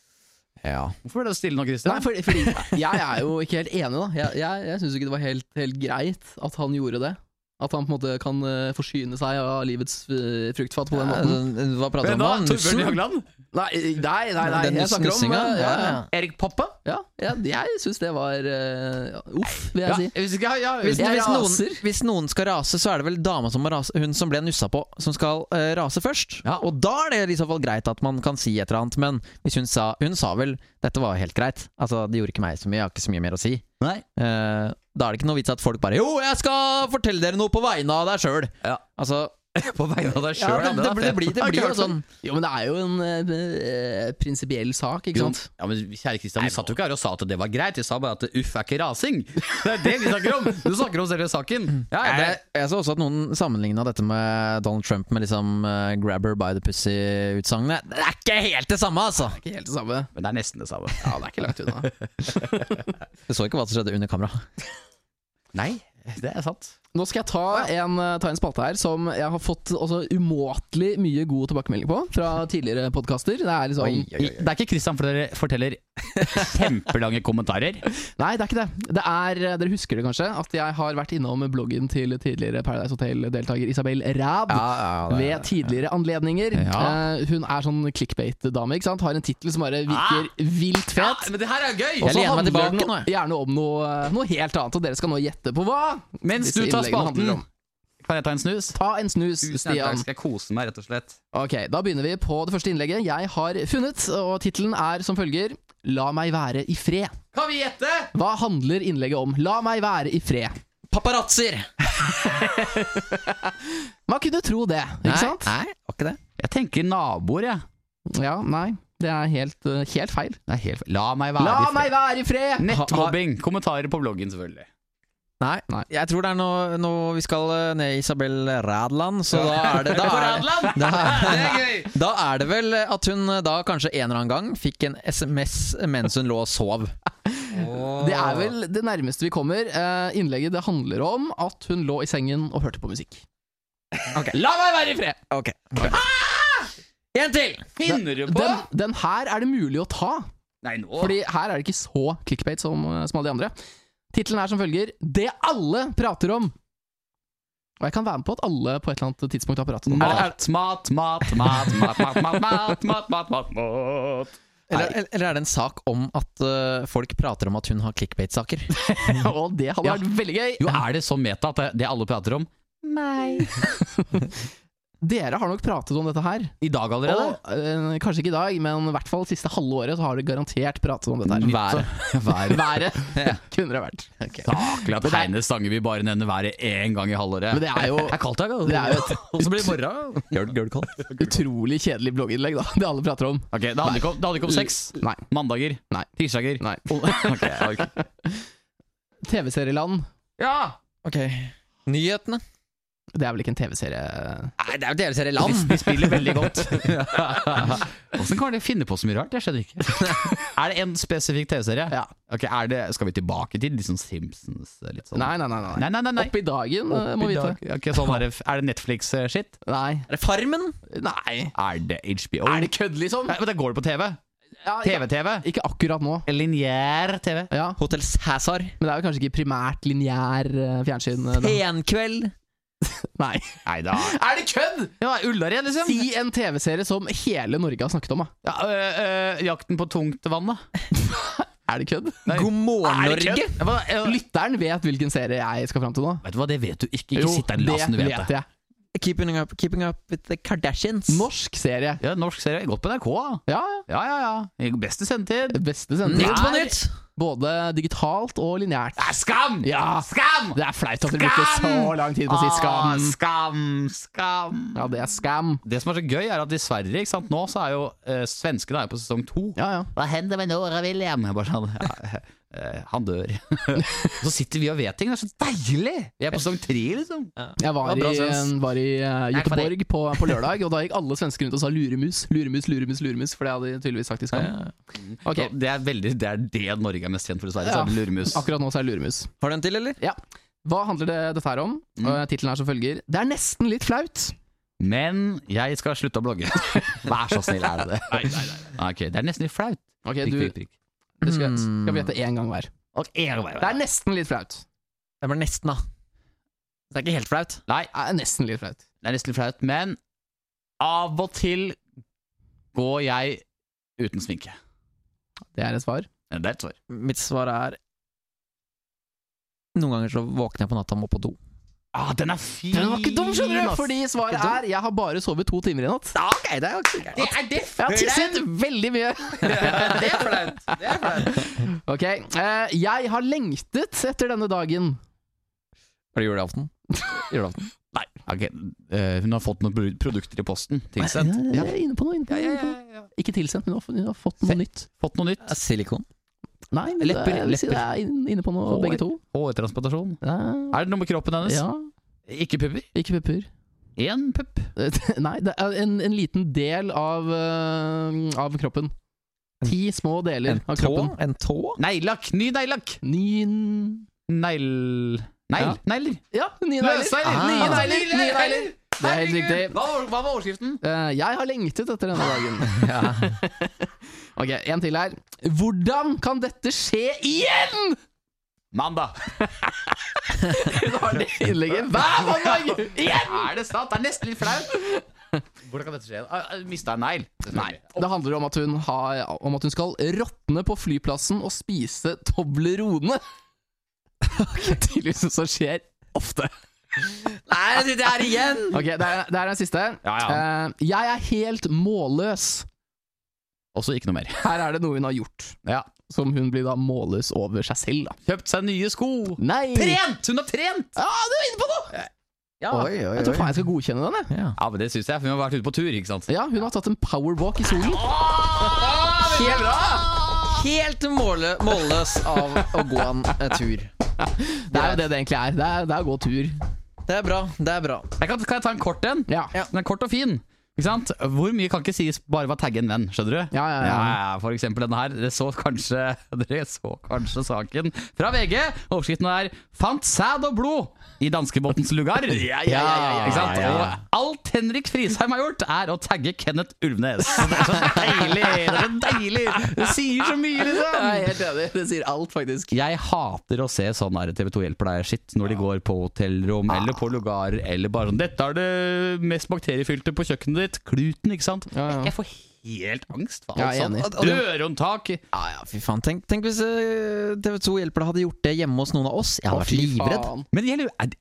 [SPEAKER 2] Ja.
[SPEAKER 3] Hvorfor ble det stille nå, Christian?
[SPEAKER 1] Nei,
[SPEAKER 3] <laughs>
[SPEAKER 1] fordi, fordi jeg er jo ikke helt enig, da. Jeg, jeg, jeg syns ikke det var helt, helt greit at han gjorde det. At han på en måte kan eh, forsyne seg av livets eh, fruktfat på den måten.
[SPEAKER 2] Eh, Hva prater
[SPEAKER 3] Men
[SPEAKER 2] du
[SPEAKER 3] da,
[SPEAKER 2] om? da?
[SPEAKER 3] Altså, Torbjørn
[SPEAKER 2] Nussen?
[SPEAKER 3] Jagland?
[SPEAKER 1] Nei, nei, nei, nei
[SPEAKER 2] Den
[SPEAKER 1] jeg snakker om
[SPEAKER 2] nussinga? Ja,
[SPEAKER 1] eh, ja, ja.
[SPEAKER 2] ja.
[SPEAKER 3] Erik Poppe?
[SPEAKER 1] Ja, ja, jeg syns det var eh, ja, uff, vil
[SPEAKER 3] Ja,
[SPEAKER 1] jeg si.
[SPEAKER 3] hvis ikke, ja,
[SPEAKER 2] Hvis,
[SPEAKER 3] hvis,
[SPEAKER 1] Jeg
[SPEAKER 2] hvis, noen,
[SPEAKER 1] raser.
[SPEAKER 2] hvis noen skal rase, så er det vel dama som må rase, hun som ble nussa på, som skal eh, rase først.
[SPEAKER 3] Ja.
[SPEAKER 2] Og da er det i så fall greit at man kan si et eller annet, men hvis hun sa Hun sa vel 'dette var helt greit', altså det gjorde ikke meg så mye, jeg har ikke så mye mer å si.
[SPEAKER 3] Nei.
[SPEAKER 2] Eh, da er det ikke noe vits at folk bare 'jo, jeg skal fortelle dere noe på vegne av deg sjøl'.
[SPEAKER 3] Ja.
[SPEAKER 2] Altså,
[SPEAKER 3] På vegne av deg
[SPEAKER 2] ja,
[SPEAKER 3] sjøl.
[SPEAKER 2] det, det, blir- det blir, det blir jo sånn.
[SPEAKER 1] Jo, men det er jo en eh, prinsipiell sak, ikke sant?
[SPEAKER 3] Sånn. Ja, men kjære Kristian, Du satt jo ikke her og sa at det var greit, jeg sa bare at uff er ikke rasing. Det er det vi snakker om! Du snakker om selve saken. Ja, ja,
[SPEAKER 2] jeg, jeg så også at noen sammenligna dette med Donald Trump med liksom eh, 'grabber by the pussy'-utsagnet. Det er ikke helt det samme, altså!
[SPEAKER 1] Ikke helt det samme.
[SPEAKER 3] det, men det er nesten det samme.
[SPEAKER 1] Ja, det er ikke langt unna.
[SPEAKER 2] Du så ikke hva som skjedde under kamera.
[SPEAKER 3] Nei, det er sant.
[SPEAKER 1] <laughs> Nå skal jeg ta en, eh, ta en spalte her som jeg har fått også umåtelig mye god tilbakemelding på fra tidligere podkaster. Det er liksom
[SPEAKER 2] Oi,
[SPEAKER 3] I- Det er ikke Kristian forteller, forteller <laughs> kjempelange kommentarer.
[SPEAKER 1] Nei, det er ikke det. det er, eh, dere husker det kanskje, at jeg har vært innom bloggen til tidligere Paradise Hotel-deltaker Isabel Ræb. Ved tidligere anledninger.
[SPEAKER 3] Ja.
[SPEAKER 1] Eh, hun er sånn clickbait-dame. ikke sant? Har en tittel som bare virker vilt
[SPEAKER 3] Ja,
[SPEAKER 1] fet.
[SPEAKER 3] men det her er gøy!
[SPEAKER 2] Ah!
[SPEAKER 1] Og
[SPEAKER 2] Jeg lener
[SPEAKER 1] så
[SPEAKER 2] meg
[SPEAKER 1] handler
[SPEAKER 2] tilbake
[SPEAKER 1] den
[SPEAKER 2] nå, jeg.
[SPEAKER 1] gjerne om noe, eh, noe helt annet, og dere skal nå gjette på hva.
[SPEAKER 3] Mens
[SPEAKER 1] disse
[SPEAKER 3] du tar
[SPEAKER 1] innleggene handler
[SPEAKER 3] spalten,
[SPEAKER 1] om.
[SPEAKER 3] kan jeg ta en snus?
[SPEAKER 1] Ta en snus, Stian.
[SPEAKER 3] skal jeg kose meg, rett og slett.
[SPEAKER 1] Ok, Da begynner vi på det første innlegget jeg har funnet, og tittelen er som følger La meg være i fred.
[SPEAKER 3] Kan vi gjette?
[SPEAKER 1] Hva handler innlegget om? La meg være i fred.
[SPEAKER 2] Paparazzoer!
[SPEAKER 1] Man kunne tro det, ikke sant?
[SPEAKER 2] Nei, var ikke det.
[SPEAKER 3] Jeg tenker naboer, jeg.
[SPEAKER 1] Ja, nei. Det er helt, eh, helt feil.
[SPEAKER 3] Det er helt feil. La meg være
[SPEAKER 1] La
[SPEAKER 3] i
[SPEAKER 1] meg
[SPEAKER 3] fred.
[SPEAKER 1] være i fred!
[SPEAKER 3] Nettmobbing. Kommentarer på bloggen, selvfølgelig.
[SPEAKER 2] Nei.
[SPEAKER 1] Nei.
[SPEAKER 2] Jeg tror det er noe, noe vi skal eh, ned i Isabel Radland, så da er <laughs> det da er, da,
[SPEAKER 3] Det er gøy!
[SPEAKER 2] da er det vel at hun eh, da kanskje en eller annen gang fikk en SMS mens hun lå og sov.
[SPEAKER 1] Det er vel det nærmeste vi kommer. Eh, innlegget det handler om at hun lå i sengen og hørte på musikk.
[SPEAKER 3] La meg være i fred!
[SPEAKER 2] Ok. En til!
[SPEAKER 3] Finner du på?
[SPEAKER 1] Den, den her er det mulig å ta,
[SPEAKER 3] Nei, nå
[SPEAKER 1] fordi her er det ikke så clickbait som, eh, som alle de andre. Tittelen er som følger Det alle prater om. Og jeg kan være med på at alle på et eller annet tidspunkt har pratet om det. <laughs>
[SPEAKER 3] Mat, mat, mat, mat, mat, mat, mat, mat, mat, mat, mat, mat.
[SPEAKER 2] Eller, eller er det en sak om at eh, folk prater om at hun har clickbait-saker?
[SPEAKER 1] Og det hadde
[SPEAKER 3] Ja.
[SPEAKER 1] vært veldig gøy.
[SPEAKER 3] Jo, er det så meta at det- det alle prater om?
[SPEAKER 1] Dere har nok pratet om dette her.
[SPEAKER 3] I dag allerede?
[SPEAKER 1] Og, eh, kanskje ikke i dag, men i hvert fall siste halve året så har det garantert pratet om dette her.
[SPEAKER 2] Været.
[SPEAKER 3] <laughs> Været.
[SPEAKER 1] Været <laughs> kunne det vært.
[SPEAKER 3] Saklig at Heine Stange vil bare nevne været én gang i halvåret.
[SPEAKER 1] Men det er jo,
[SPEAKER 3] Det er kaldt, altså.
[SPEAKER 1] det
[SPEAKER 3] <laughs>
[SPEAKER 1] er jo
[SPEAKER 2] Og så blir det morgen. Girl-call.
[SPEAKER 1] et utrolig kjedelig blogginnlegg, da. <laughs> Det alle prater om.
[SPEAKER 3] Ok, Det handler ikke om, det handler ikke om sex.
[SPEAKER 1] Nei.
[SPEAKER 3] Mandager.
[SPEAKER 1] Nei.
[SPEAKER 3] Tirsdager.
[SPEAKER 1] Nei.
[SPEAKER 3] Ok, jeg orker.
[SPEAKER 1] TV-serieland.
[SPEAKER 3] Ja!
[SPEAKER 2] Ok. Nyhetene.
[SPEAKER 1] Det er vel ikke en TV-serie
[SPEAKER 2] Nei, det er jo TV-serie
[SPEAKER 3] De,
[SPEAKER 2] Land.
[SPEAKER 3] de spiller veldig godt. <laughs> Åssen kan de finne på så mye rart? Jeg skjønner ikke. <laughs> Er det en spesifikk TV-serie?
[SPEAKER 1] Ja.
[SPEAKER 3] Ok, er det, Skal vi tilbake til liksom Simpsons? Litt sånn?
[SPEAKER 1] Nei, nei, nei. nei.
[SPEAKER 3] nei, nei. nei, nei.
[SPEAKER 1] Opp i dagen, eh, må
[SPEAKER 3] Opp i
[SPEAKER 1] vi ta.
[SPEAKER 3] dag. Ok, sånn er, det, er det Netflix-shit?
[SPEAKER 1] Nei.
[SPEAKER 2] Er det Farmen?
[SPEAKER 1] nei.
[SPEAKER 3] Er det HBO?
[SPEAKER 1] Er det kødd, liksom?
[SPEAKER 3] Nei, men da går det på TV.
[SPEAKER 1] Ja, ikke,
[SPEAKER 3] TV-TV.
[SPEAKER 1] ikke akkurat nå.
[SPEAKER 3] Linjær TV.
[SPEAKER 1] Ja,
[SPEAKER 2] Hotell Cæsar?
[SPEAKER 1] Men det er jo kanskje ikke primært lineær eh, fjernsyn? eh, Da.
[SPEAKER 2] Senkveld?
[SPEAKER 1] Nei.
[SPEAKER 3] Nei da.
[SPEAKER 1] Er det kødd?!
[SPEAKER 3] Ja, Ullared, liksom.
[SPEAKER 1] Si en TV-serie som hele Norge har snakket om, da.
[SPEAKER 3] Ja, øh, øh, jakten på tungt vann, da.
[SPEAKER 1] Er det kødd?
[SPEAKER 3] Nei.
[SPEAKER 2] God morgen,
[SPEAKER 3] Er det
[SPEAKER 2] Norge?
[SPEAKER 3] kødd? Ja, hva- øh,
[SPEAKER 1] Lytteren vet hvilken serie jeg skal fram til nå.
[SPEAKER 3] Vet du hva, det vet du ikke. Ikke sitt der og lat som du vet det.
[SPEAKER 1] jeg.
[SPEAKER 2] Keeping up, keeping up with the Kardashians.
[SPEAKER 1] Norsk serie.
[SPEAKER 3] Ja, norsk serie. Godt på NRK. da.
[SPEAKER 1] Ja,
[SPEAKER 3] Ja, ja, ja. I Beste sendetid.
[SPEAKER 1] beste sending.
[SPEAKER 2] Nytt på nytt!
[SPEAKER 1] Både digitalt og lineært.
[SPEAKER 3] Det er skam!
[SPEAKER 1] Ja.
[SPEAKER 3] Skam!
[SPEAKER 1] Det er flaut at dere brukte så
[SPEAKER 3] Skam!
[SPEAKER 1] lang tid på å si
[SPEAKER 3] Ah,
[SPEAKER 1] skam.
[SPEAKER 3] skam, skam.
[SPEAKER 1] Ja, det er skam.
[SPEAKER 3] Det som er så gøy, er at i Sverige ikke sant, nå så er jo øh, svenskene er jo på sesong to.
[SPEAKER 1] Ja, ja.
[SPEAKER 3] Hva hender med Nora William? Jeg Bare sånn, ja, eh, han dør. <laughs> så sitter vi og vet ting. Det er så deilig! Vi er på sesong tre, liksom.
[SPEAKER 1] Jeg
[SPEAKER 3] Det
[SPEAKER 1] var,
[SPEAKER 3] var bra
[SPEAKER 1] i,
[SPEAKER 3] sens.
[SPEAKER 1] var i eh,
[SPEAKER 3] Takk for
[SPEAKER 1] Göteborg på, på lørdag, og da gikk alle svensker rundt og sa 'luremus', 'luremus', 'luremus', luremus for det hadde de tydeligvis sagt i Skam. Ok,
[SPEAKER 3] Så Det, er veldig, det er det Norge er mest kjent for i Sverige.
[SPEAKER 1] Ja.
[SPEAKER 3] Så er det Lurmus.
[SPEAKER 1] Akkurat nå så er det luremus.
[SPEAKER 2] Har du en til, eller?
[SPEAKER 1] Ja. Hva handler det, dette her om?
[SPEAKER 3] Mm.
[SPEAKER 1] Mm. Tittelen er som følger 'Det er nesten litt flaut'.
[SPEAKER 3] Men jeg skal slutte å blogge. <laughs> Vær så snill, er det det? nei, nei, nei. Ok, Det er nesten litt flaut.
[SPEAKER 1] Ok,
[SPEAKER 3] Prikk,
[SPEAKER 1] du,
[SPEAKER 3] prikk, prikk.
[SPEAKER 1] du skal, skal vi gjette én gang hver.
[SPEAKER 3] Og er,
[SPEAKER 1] Det er nesten litt flaut.
[SPEAKER 2] Det var nesten, da. Så det er ikke helt flaut.
[SPEAKER 3] Nei,
[SPEAKER 1] er nesten litt flaut.
[SPEAKER 3] det er nesten litt flaut, men av og til går jeg uten sminke.
[SPEAKER 1] Det er et svar.
[SPEAKER 3] Det er et svar.
[SPEAKER 2] Mitt svar er Noen ganger så våkner jeg på natta og må på do.
[SPEAKER 3] Ah, den er fin!
[SPEAKER 1] Den var ikke dum, skjønner du!
[SPEAKER 3] ass.
[SPEAKER 1] Fordi svaret
[SPEAKER 3] Ikke dum.
[SPEAKER 1] er jeg har bare sovet to timer i natt.
[SPEAKER 2] ok, det er jo ikke
[SPEAKER 3] Det er det
[SPEAKER 1] Jeg har tisset veldig <laughs> mye.
[SPEAKER 3] Det er flaut! Det er flaut.
[SPEAKER 1] Ok, eh, Jeg har lengtet etter denne dagen.
[SPEAKER 2] Er det julaften? julaften.
[SPEAKER 3] Nei, ok. eh, hun har fått noen pro- produkter i posten. Tilsendt.
[SPEAKER 1] Ja, jeg er inne på noe. Inne på,
[SPEAKER 3] Ja, ja,
[SPEAKER 1] noe, inne på. noe.
[SPEAKER 3] ja, ja.
[SPEAKER 1] Ikke tilsendt, men hun har fått- hun har fått noe nytt.
[SPEAKER 3] Fått noe nytt.
[SPEAKER 2] Silikon.
[SPEAKER 1] Nei, men
[SPEAKER 3] Lepper,
[SPEAKER 1] det- jeg vil si
[SPEAKER 3] lepper.
[SPEAKER 1] det er inn- inne på noe,
[SPEAKER 3] Hår.
[SPEAKER 1] begge to.
[SPEAKER 3] Hårtransplantasjon.
[SPEAKER 1] Ja,
[SPEAKER 3] Er det noe med kroppen hennes?
[SPEAKER 1] ja
[SPEAKER 3] Ikke pupper?
[SPEAKER 1] ikke pupper.
[SPEAKER 3] Én pupp.
[SPEAKER 1] <laughs> Nei, det er en, en liten del av, øh, av kroppen. Ti små deler
[SPEAKER 2] En
[SPEAKER 1] av
[SPEAKER 2] tå?
[SPEAKER 1] kroppen.
[SPEAKER 2] En tå?
[SPEAKER 3] Neglelakk! Ny neglelakk!
[SPEAKER 1] Nyen
[SPEAKER 3] Negl... Negl?
[SPEAKER 1] Ja.
[SPEAKER 3] Negler.
[SPEAKER 1] Ja, nye negler!
[SPEAKER 3] Løsnegler!
[SPEAKER 1] Ah. Nye negler! Nye negler! Det er helt
[SPEAKER 3] Herregud!
[SPEAKER 1] riktig.
[SPEAKER 3] Hva var, hva var overskriften?
[SPEAKER 1] Eh, jeg har lengtet etter denne
[SPEAKER 2] <laughs>
[SPEAKER 1] dagen. <laughs> ok, en til her. Hvordan kan dette skje igjen?! <laughs>
[SPEAKER 3] Mandag.
[SPEAKER 1] Det var det innlegget hver
[SPEAKER 3] <laughs>
[SPEAKER 1] mandag! Igjen!
[SPEAKER 3] Er det sant? Det er nesten litt flaut. Hvordan kan dette skje? Ah, ah, Mista en negl. Nei.
[SPEAKER 1] Det handler om at hun, har, om at hun skal råtne på flyplassen og spise Toblerone. <laughs> Tydeligvis noe som skjer ofte.
[SPEAKER 2] Nei, jeg sitter her <laughs> igjen!
[SPEAKER 1] Ok, Det er, det er den siste.
[SPEAKER 3] Ja, ja.
[SPEAKER 1] Eh, jeg er helt målløs.
[SPEAKER 3] Også ikke noe mer. <laughs>
[SPEAKER 1] Her er det noe hun har gjort,
[SPEAKER 3] Ja.
[SPEAKER 1] som hun blir da målløs over seg selv. da
[SPEAKER 3] Kjøpt seg nye sko.
[SPEAKER 1] Nei!
[SPEAKER 3] Trent! Hun har trent!
[SPEAKER 1] Ja, du er inne på noe!
[SPEAKER 3] Ja,
[SPEAKER 2] Oi, oi,
[SPEAKER 1] Jeg tror faen jeg skal godkjenne den. jeg.
[SPEAKER 2] Ja.
[SPEAKER 3] ja men det syns jeg, for hun har vært ute på tur, ikke sant?
[SPEAKER 1] Ja, Hun har tatt en powerwalk i solen.
[SPEAKER 3] Helt
[SPEAKER 2] Helt måle, målløs av å gå en eh, tur.
[SPEAKER 1] Det er jo det det egentlig er. Det er, det er å gå tur.
[SPEAKER 2] Det er bra. Det er bra.
[SPEAKER 3] Jeg kan, kan jeg ta en kort en?
[SPEAKER 1] Ja.
[SPEAKER 2] Ja.
[SPEAKER 3] Den er kort og fin. Ikke sant? Hvor mye kan ikke sies bare ved å tagge en venn, skjønner du?
[SPEAKER 1] Ja, ja, ja.
[SPEAKER 3] For eksempel denne her. Dere så kanskje, <laughs> dere så kanskje saken fra VG. Overskriften er 'Fant sæd og blod i danskebåtens lugar'. <laughs> Ja,
[SPEAKER 1] ja, ja, ja,
[SPEAKER 3] ikke sant?
[SPEAKER 2] ja, ja.
[SPEAKER 3] Og alt Henrik Frisheim har gjort, er å tagge Kenneth Ulvnes. <laughs> Det er så deilig! Det er så deilig! Det sier så mye, liksom!
[SPEAKER 1] helt enig. Det sier alt, faktisk.
[SPEAKER 3] Jeg hater å se sånn her TV 2 hjelper deg-shit når de går på hotellrom
[SPEAKER 1] Ah.
[SPEAKER 3] eller på lugarer eller bare sånn 'Dette er det mest bakteriefylte på kjøkkenet ditt'. Kluten, ikke sant?
[SPEAKER 1] Ja, ja.
[SPEAKER 3] Jeg får helt angst Altså, for
[SPEAKER 1] Ja,
[SPEAKER 3] alt
[SPEAKER 1] jeg er
[SPEAKER 3] sånt.
[SPEAKER 1] enig.
[SPEAKER 3] Og- og- Dørhåndtak
[SPEAKER 2] Ja, ja, fy faen. Tenk, tenk hvis eh, TV2 Hjelper deg hadde gjort det hjemme hos noen av oss. Jeg hadde vært livredd.
[SPEAKER 3] Men det gjelder jo er det-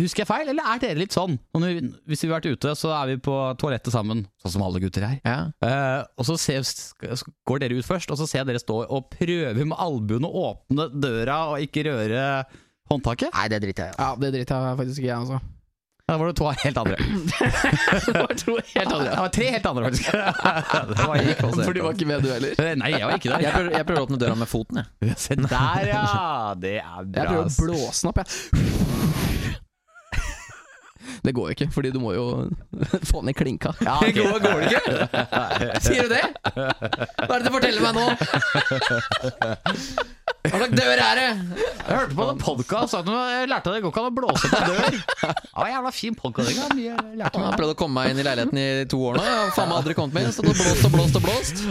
[SPEAKER 3] Husker jeg feil, eller er dere litt sånn? Når vi, hvis vi har vært ute, så er vi på toalettet sammen, sånn som alle gutter er.
[SPEAKER 2] Ja.
[SPEAKER 3] Eh, og så ser, sk- sk- går dere ut først, og så ser jeg dere stå og prøve med albuen å åpne døra og ikke røre håndtaket.
[SPEAKER 2] Nei, det driter jeg i.
[SPEAKER 1] Ja, det driter jeg faktisk i, altså. jeg også.
[SPEAKER 3] Da var det to helt <clears throat> andre.
[SPEAKER 1] Helt
[SPEAKER 3] Det var tre helt andre, faktisk. <laughs> det var ikke også helt <laughs>
[SPEAKER 1] For du var ikke med, du heller.
[SPEAKER 3] annet. Nei, jeg var ikke
[SPEAKER 2] Jeg
[SPEAKER 3] der.
[SPEAKER 2] prøver, jeg prøver å åpne døra med foten, jeg.
[SPEAKER 3] Se der, ja! Det er
[SPEAKER 1] Jeg
[SPEAKER 3] bra.
[SPEAKER 1] prøver å
[SPEAKER 3] ass.
[SPEAKER 1] blåse den opp, jeg. <laughs> Det går jo ikke, fordi du må jo <laughs> få ned klinka.
[SPEAKER 3] Ja, ok.
[SPEAKER 2] Går, går det ikke? <laughs> Sier du det? Hva er det du forteller meg nå? Hva slags dør er det?
[SPEAKER 3] Jeg hørte på en podkast at jeg lærte at det går ikke an å blåse på <laughs> dør. Det var en jævla fin podkast. Jeg lærte
[SPEAKER 2] Jeg
[SPEAKER 3] meg.
[SPEAKER 2] har prøvd å komme meg inn i leiligheten i to år nå. Jeg har faen meg aldri kommet meg inn. Så det har blåst og blåst og blåst.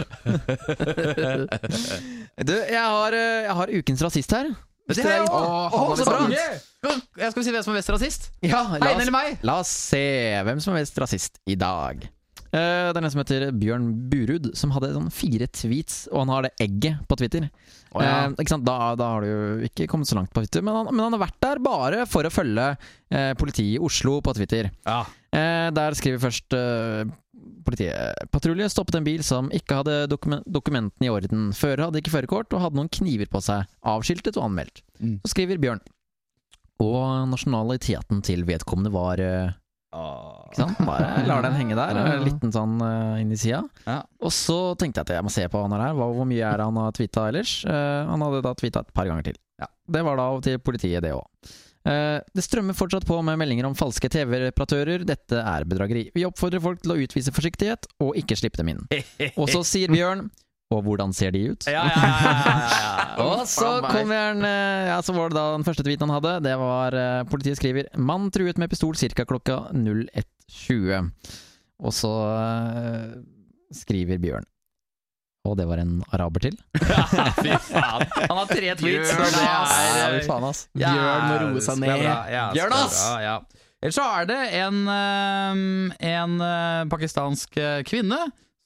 [SPEAKER 2] Du, jeg har, eh, jeg har ukens rasist her. Hvis
[SPEAKER 3] Det
[SPEAKER 2] dere
[SPEAKER 3] er
[SPEAKER 2] er
[SPEAKER 3] jo-
[SPEAKER 2] interessert-
[SPEAKER 1] Åh,
[SPEAKER 3] Åh,
[SPEAKER 1] han
[SPEAKER 3] så
[SPEAKER 1] er
[SPEAKER 3] bra!
[SPEAKER 1] sant.
[SPEAKER 3] Jeg skal vi si hvem som er mest rasist?
[SPEAKER 2] Ja, la
[SPEAKER 3] Einar
[SPEAKER 2] oss,
[SPEAKER 3] eller meg?
[SPEAKER 2] la oss se hvem som er mest rasist i dag. Eh, det er en som heter Bjørn Burud, som hadde sånn fire tweets, og han har det egget på Twitter.
[SPEAKER 1] Å, ja.
[SPEAKER 2] Eh, ikke sant? Da, da har du jo ikke kommet så langt på Twitter, men han, men han har vært der bare for å følge eh, politiet i Oslo på Twitter.
[SPEAKER 3] Ja.
[SPEAKER 2] Eh, der skriver først eh, politiet Patrulje stoppet en bil som ikke hadde dokumen dokumentene i orden. Fører hadde ikke førerkort og hadde noen kniver på seg. Avskiltet og anmeldt.
[SPEAKER 3] Mm.
[SPEAKER 2] Så skriver Bjørn. Og nasjonaliteten til vedkommende var eh, Ikke sant? Bare lar den henge der. eh, Liten sånn eh, inn i sida.
[SPEAKER 3] Ja.
[SPEAKER 2] Og så tenkte jeg at jeg må se på hva han har her. Hva, hvor mye er det han har tweeta ellers? Eh, han hadde da tweeta et par ganger til.
[SPEAKER 3] Ja.
[SPEAKER 2] Det var da til politiet, det òg. Eh, Det strømmer fortsatt på med meldinger om falske TV-reparatører. Dette er bedrageri. Vi oppfordrer folk til å utvise forsiktighet og ikke slippe dem inn.
[SPEAKER 3] <laughs>
[SPEAKER 2] Og så sier Bjørn Og hvordan ser de ut?
[SPEAKER 3] Ja, ja, ja, ja, ja.
[SPEAKER 2] Og så
[SPEAKER 1] Faen meg.
[SPEAKER 2] kom Bjørn eh, Ja, så var det da den første tweeten han hadde. Det var eh, politiet skriver 'Mann truet med pistol ca. klokka 01.20'. Og så eh, skriver Bjørn Og det var en araber til.
[SPEAKER 3] Fy faen. Han har tre tweets.
[SPEAKER 4] Bjørn,
[SPEAKER 3] så det
[SPEAKER 2] Ja,
[SPEAKER 3] er-
[SPEAKER 2] fy faen, ass.
[SPEAKER 1] Bjørn må roe seg ned.
[SPEAKER 3] Bjørn,
[SPEAKER 4] Gjør det,
[SPEAKER 3] ass!
[SPEAKER 4] Ja.
[SPEAKER 3] Ellers så er det en, eh, en eh, pakistansk eh, kvinne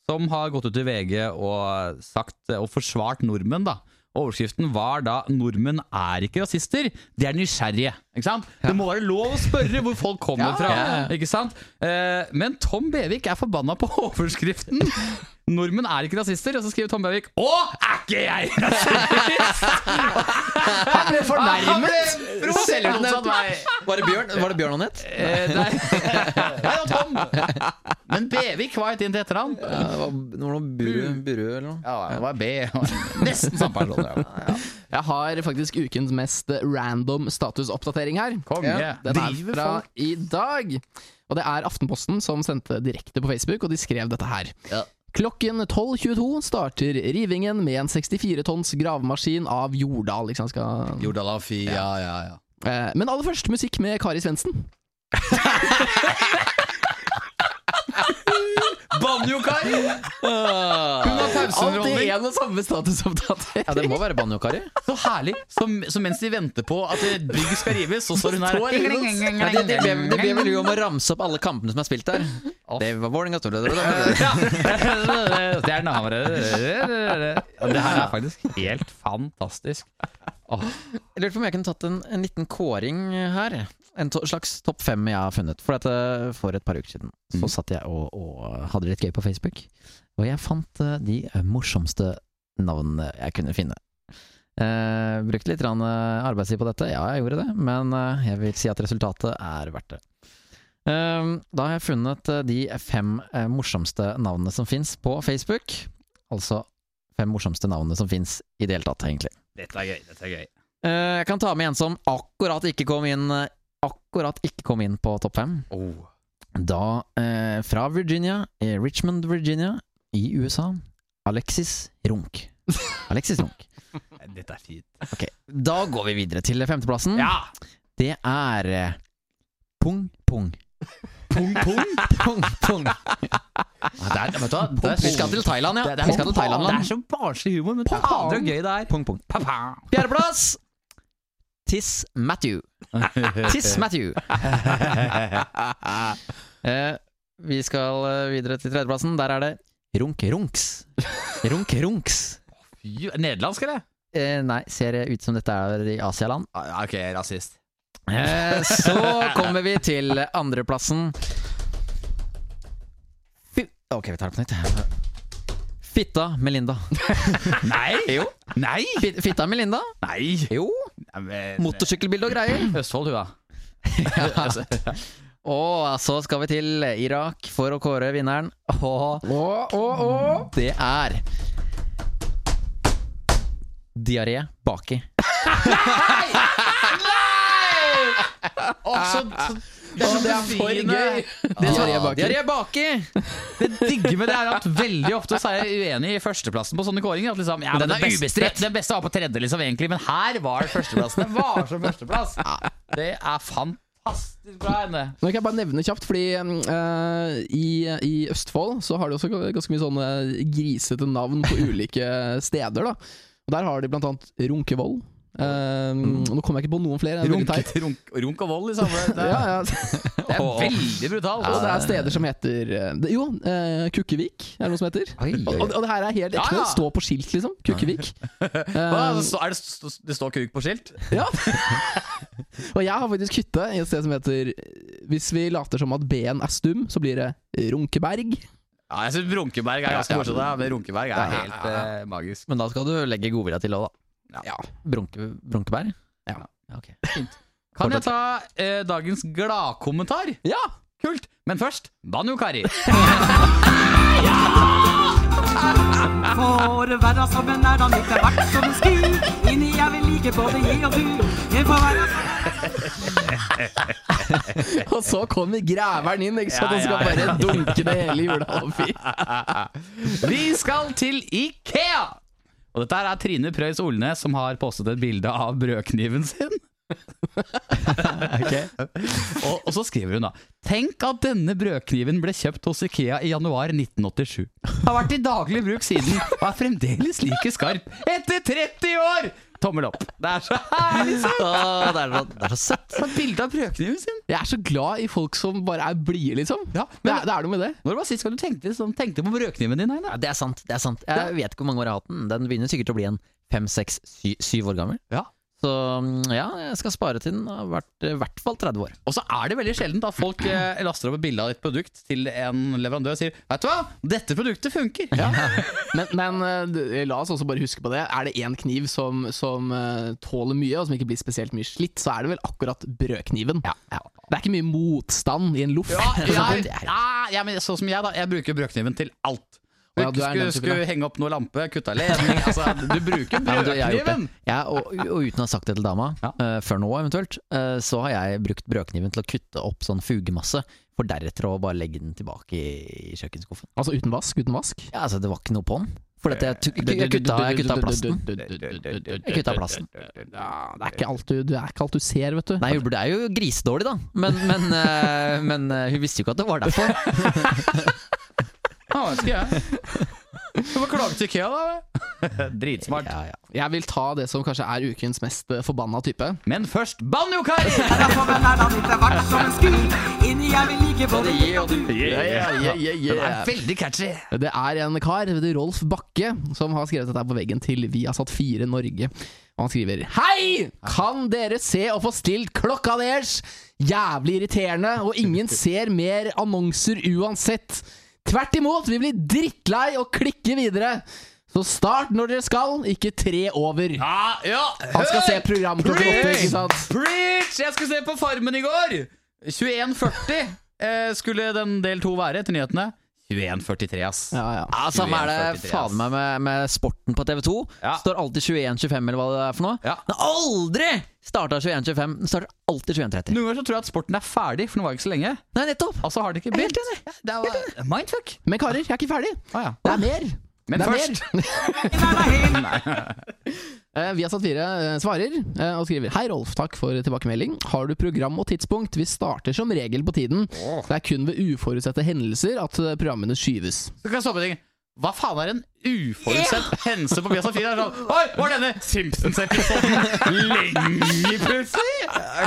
[SPEAKER 3] som har gått ut i VG og sagt eh, og forsvart nordmenn, da. Overskriften var da 'Nordmenn er ikke rasister, de er nysgjerrige'. Ikke sant? Det må være lov å spørre hvor folk kommer fra. Ikke sant? Eh, men Tom Bevik er forbanna på <laughs> overskriften. 'Nordmenn er ikke rasister', og så skriver Tom Bevik 'Å, er ikke jeg <laughs>
[SPEAKER 1] Han ble fornærmet!
[SPEAKER 3] rasist?!' <laughs>
[SPEAKER 2] Var det Bjørn, var det Bjørn han het?
[SPEAKER 3] Eh, nei. Nei, det var Tom! <laughs> Men Bevik var et inn til etternavn.
[SPEAKER 2] Ja, det var det var noe Buru, Buru eller noe.
[SPEAKER 3] Ja, det var B. Nesten samme person. <laughs> Ja.
[SPEAKER 1] Jeg har faktisk ukens mest random statusoppdatering her.
[SPEAKER 3] Konge.
[SPEAKER 1] Den er fra i dag. Og det er Aftenposten som sendte direkte på Facebook, og de skrev dette her. Klokken 12.22 starter rivingen med en 64 tonns gravemaskin av Jordal. Ikke sant? Skal...
[SPEAKER 3] Jordalafi, ja, ja, ja.
[SPEAKER 1] Eh, Men aller først musikk med Kari Svendsen.
[SPEAKER 3] Banjo-Kari! Hun har
[SPEAKER 1] Alltid
[SPEAKER 3] pauseunderholdning.
[SPEAKER 1] en og samme statusoppdatering.
[SPEAKER 2] Ja, det må være Banjo-Kari.
[SPEAKER 3] Så herlig. Så, så mens de venter på at et bygg skal rives, så står hun her.
[SPEAKER 1] Står hun og-
[SPEAKER 2] Ja, det, det, ber- det ber vel du om å ramse opp alle kampene som er spilt der. Det var Vålerenga Storleder.
[SPEAKER 3] Ja. Stjernehamre Og Det her er faktisk helt fantastisk.
[SPEAKER 2] Jeg lurte på om jeg kunne tatt en, en liten kåring her. En to, slags topp fem jeg har funnet. For, at, eh, for et par uker siden så satt jeg og, og hadde det litt gøy på Facebook. Og jeg fant eh, de morsomste navnene jeg kunne finne. Eh, brukte litt grann, eh, arbeidstid på dette, ja jeg gjorde det. Men eh, jeg vil si at resultatet er verdt det. Eh, da har jeg funnet eh, de fem eh, morsomste navnene som fins på Facebook. Altså fem morsomste navnene som fins i det hele tatt, egentlig.
[SPEAKER 4] Dette er gøy. dette er gøy
[SPEAKER 2] Eh, Jeg kan ta med en som akkurat ikke kom inn eh, Akkurat ikke kom inn på topp fem. Da eh, fra Virginia, eh, Richmond, Virginia, i USA, Alexis Runk. Alexis Runk.
[SPEAKER 4] Dette er fint.
[SPEAKER 2] Ok, Da går vi videre til femteplassen.
[SPEAKER 4] Ja!
[SPEAKER 2] Det er eh, Pung Pung.
[SPEAKER 3] Pung, pung.
[SPEAKER 2] Pung Pung.
[SPEAKER 3] Der, vet du hva? Der-
[SPEAKER 2] Vi skal til Thailand, ja. Vi skal til Thailand,
[SPEAKER 3] Det
[SPEAKER 2] land.
[SPEAKER 3] er så barnslig humor, men det er andre gøy det er.
[SPEAKER 2] Pung Pung. Fjerdeplass! Tiss Matthew. Tiss Matthew. Eh, vi skal eh, videre til tredjeplassen. Der er det Runk Runks. Runk Runks.
[SPEAKER 3] Fy- Nederlandsk, eller?
[SPEAKER 2] Eh, nei, ser det ut som dette er i Asialand?
[SPEAKER 3] Ah, Ok, rasist.
[SPEAKER 2] Eh, så kommer vi til andreplassen. Fy ok, vi tar det på nytt. Fitta Melinda.
[SPEAKER 3] Nei! Jo. Nei!
[SPEAKER 2] Fit- Fitta Melinda?
[SPEAKER 3] Nei!
[SPEAKER 2] Jo.
[SPEAKER 3] Nei, men-
[SPEAKER 2] Motorsykkelbilde og greier.
[SPEAKER 3] Østfold, hun
[SPEAKER 2] <laughs>
[SPEAKER 3] da.
[SPEAKER 2] Og så skal vi til Irak for å kåre vinneren. Og
[SPEAKER 1] Å, å, å.
[SPEAKER 2] det er Diaré baki.
[SPEAKER 3] så, det
[SPEAKER 1] Å, Det er for gøy! Det tar jeg bak.
[SPEAKER 2] Diaré baki!
[SPEAKER 3] Det digge med det er at veldig ofte så er jeg uenig i førsteplassen på sånne kåringer. At liksom, ja, men
[SPEAKER 2] Den
[SPEAKER 3] det
[SPEAKER 2] er
[SPEAKER 3] beste-
[SPEAKER 2] ubestridt.
[SPEAKER 3] Det beste var på tredje, liksom, egentlig, men her var førsteplassen. Det var som førsteplass. Det er fantastisk bra henne.
[SPEAKER 1] Nå kan jeg bare nevne kjapt, fordi eh, i, i Østfold så har de også ganske mye sånne grisete navn
[SPEAKER 3] <laughs>
[SPEAKER 1] på ulike steder. da Og Der har de blant annet Runkevoll. Eh,
[SPEAKER 3] Mm.
[SPEAKER 1] Nå kom jeg ikke på noen flere. Det er veldig
[SPEAKER 3] Runk,
[SPEAKER 1] teit.
[SPEAKER 3] runk, runk og vold, liksom. Det
[SPEAKER 1] Ja,
[SPEAKER 3] er,
[SPEAKER 1] ja.
[SPEAKER 3] det er veldig brutalt.
[SPEAKER 1] Og det er steder som heter eh, det- Jo, eh, Kukkevik er det noe som heter.
[SPEAKER 2] Oi, oi,
[SPEAKER 1] Og,
[SPEAKER 2] oi.
[SPEAKER 1] og det her er helt ekte.
[SPEAKER 3] Ja, ja.
[SPEAKER 1] Det står på skilt, liksom. Kukkevik.
[SPEAKER 3] <laughs> Hva, altså,
[SPEAKER 1] Eh,
[SPEAKER 3] så er det, st- st- det står kuk på skilt?
[SPEAKER 1] Ja. og jeg har faktisk hytte i et sted som heter Hvis vi later som at B-en er stum, så blir det Runkeberg.
[SPEAKER 3] Ja, jeg syns Runkeberg er ganske morsomt. ja, Men Runkeberg er helt eh, magisk.
[SPEAKER 2] Men da skal du legge godvilja til òg, da.
[SPEAKER 1] Ja.
[SPEAKER 2] Brunke, brunkebær?
[SPEAKER 1] Ja.
[SPEAKER 2] ok. <laughs>
[SPEAKER 3] Kan jeg ta eh, dagens gladkommentar?
[SPEAKER 1] Ja!
[SPEAKER 3] Kult! Men først Banjo-Kari.
[SPEAKER 5] For verda som en er han ikke verdt som en sku. Inni jeg vil like både jeg og du. Jeg får være
[SPEAKER 1] <laughs> Og så kommer græveren inn, ikke sant?
[SPEAKER 3] Ja,
[SPEAKER 1] og skal
[SPEAKER 3] ja,
[SPEAKER 1] bare dunke det hele <laughs> jula over.
[SPEAKER 3] Vi skal til <laughs> Ikea! Og dette her er Trine Preus Olnes som har postet et bilde av brødkniven sin. Og, og så skriver hun da Tenk at denne brødkniven ble kjøpt hos Ikea i januar 1987. Har vært i daglig bruk siden og er fremdeles like skarp etter 30 år! Tommel opp. Det er så herlig! søtt!
[SPEAKER 2] Åh, det, er så, det er så søtt.
[SPEAKER 3] Ta bilde av brødkniven sin.
[SPEAKER 1] Jeg er så glad i folk som bare er blide, liksom.
[SPEAKER 3] Ja,
[SPEAKER 1] Det
[SPEAKER 3] men
[SPEAKER 1] er, det er noe med det.
[SPEAKER 3] Når var sist gang du tenkte, sånn- tenkte på brødkniven din? Einar?
[SPEAKER 2] Ja, det er sant. det er sant Jeg vet ikke hvor mange år jeg har hatt den. Den begynner sikkert å bli en fem, seks, sy- syv år gammel.
[SPEAKER 3] Ja.
[SPEAKER 2] Så mm, ja, jeg skal spare til den har vært i hvert fall 30 år.
[SPEAKER 3] Og så er det veldig sjeldent at folk eh, laster opp et bilde av ditt produkt til en leverandør og sier Vet du hva, dette produktet funker!
[SPEAKER 1] Men, men eh, d- la oss også bare huske på det. Er det én kniv som, som eh, tåler mye, og som ikke blir spesielt mye slitt, så er det vel akkurat brødkniven. Det er ikke mye motstand i en <laughs> loff. sånn.
[SPEAKER 3] Ja,
[SPEAKER 1] for
[SPEAKER 3] jeg,
[SPEAKER 1] eksempel.
[SPEAKER 3] ja, ja, men sånn som jeg, da. Jeg bruker brødkniven til alt.
[SPEAKER 1] Å ja, du er den
[SPEAKER 3] skulle,
[SPEAKER 1] typen,
[SPEAKER 3] skulle henge opp noe lampe, kutta ledning altså, Du bruker
[SPEAKER 2] Ja, men du, jeg har gjort det.
[SPEAKER 3] brødkniven!
[SPEAKER 2] Jeg, og, og uten å ha sagt det til dama,
[SPEAKER 3] Ja.
[SPEAKER 2] eh, før nå eventuelt, eh, så har jeg brukt brødkniven til å kutte opp sånn fugemasse, for deretter å bare legge den tilbake i, i kjøkkenskuffen.
[SPEAKER 1] Altså uten vask, uten vask.
[SPEAKER 2] Ja, altså Det var ikke noe på den. For dette, jeg, tuk-
[SPEAKER 3] Eh,
[SPEAKER 2] jeg, kutta, jeg kutta plasten. Jeg
[SPEAKER 1] <laughs>
[SPEAKER 2] kutta plasten.
[SPEAKER 1] Ja, det er ikke alt du, det er ikke alt du ser, vet du.
[SPEAKER 2] Nei, hun ble jo grisedårlig, da. Men, men, eh, men eh, hun visste jo ikke at det var derfor.
[SPEAKER 3] <laughs> Ja, det skal jeg. Hvorfor klage til Ikea, da? Dritsmart.
[SPEAKER 2] Ja, ja.
[SPEAKER 1] <laughs> Jeg vil ta det som kanskje er ukens mest eh, forbanna type.
[SPEAKER 3] Men først banjokar!
[SPEAKER 5] Derfor er da mitt er verdt som en sku. Inni jeg vil like både jeg og du.
[SPEAKER 3] Den er veldig catchy.
[SPEAKER 1] Det er en kar, det er Rolf Bakke, som har skrevet dette her på veggen til Vi har satt fire Norge. Og han skriver Hei! Kan dere se og få stilt klokka deres? Jævlig irriterende, og ingen ser mer annonser uansett. Tvert imot, vi blir drittlei og klikker videre. Så start når dere skal, ikke tre over.
[SPEAKER 3] Ja, ja.
[SPEAKER 1] Han skal se
[SPEAKER 3] Hør!
[SPEAKER 1] program klokken åtte, ikke sant?
[SPEAKER 3] Preach! Jeg skulle se på Farmen i går! 21.40 eh, skulle den del to være etter nyhetene. 21.43, ass.
[SPEAKER 1] Ja, ja.
[SPEAKER 2] Ja, Samme er det
[SPEAKER 3] 21.43,
[SPEAKER 2] faen meg med, med sporten på TV2.
[SPEAKER 3] Ja.
[SPEAKER 2] Står alltid 21.25 eller hva det er for noe.
[SPEAKER 3] Ja.
[SPEAKER 2] Den har aldri starta 21.25, den starter alltid 21.30.
[SPEAKER 3] Noen ganger så tror jeg at sporten er ferdig, for den var ikke så lenge.
[SPEAKER 2] Nei, nettopp!
[SPEAKER 3] Altså har det ikke
[SPEAKER 2] Jeg er
[SPEAKER 3] begynt.
[SPEAKER 2] helt enig.
[SPEAKER 3] Ja, Det var mindfuck.
[SPEAKER 1] Men karer, jeg er ikke ferdig.
[SPEAKER 3] Ah, ja.
[SPEAKER 1] Det er mer.
[SPEAKER 3] Men
[SPEAKER 1] det er
[SPEAKER 3] først
[SPEAKER 1] mer.
[SPEAKER 5] Den er helt
[SPEAKER 1] Eh, Vi har satt fire eh, svarer eh, og skriver Hei Rolf, takk for tilbakemelding. Har du program og tidspunkt? Vi starter som regel på tiden. Det er kun ved uforutsette hendelser at eh, programmene skyves.
[SPEAKER 3] så kan jeg stoppe ting. Hva faen er en uforutsett hendelse på Viasat 4? Det er Sånn, Oi, var denne Simpsons-episoden lenge plutselig?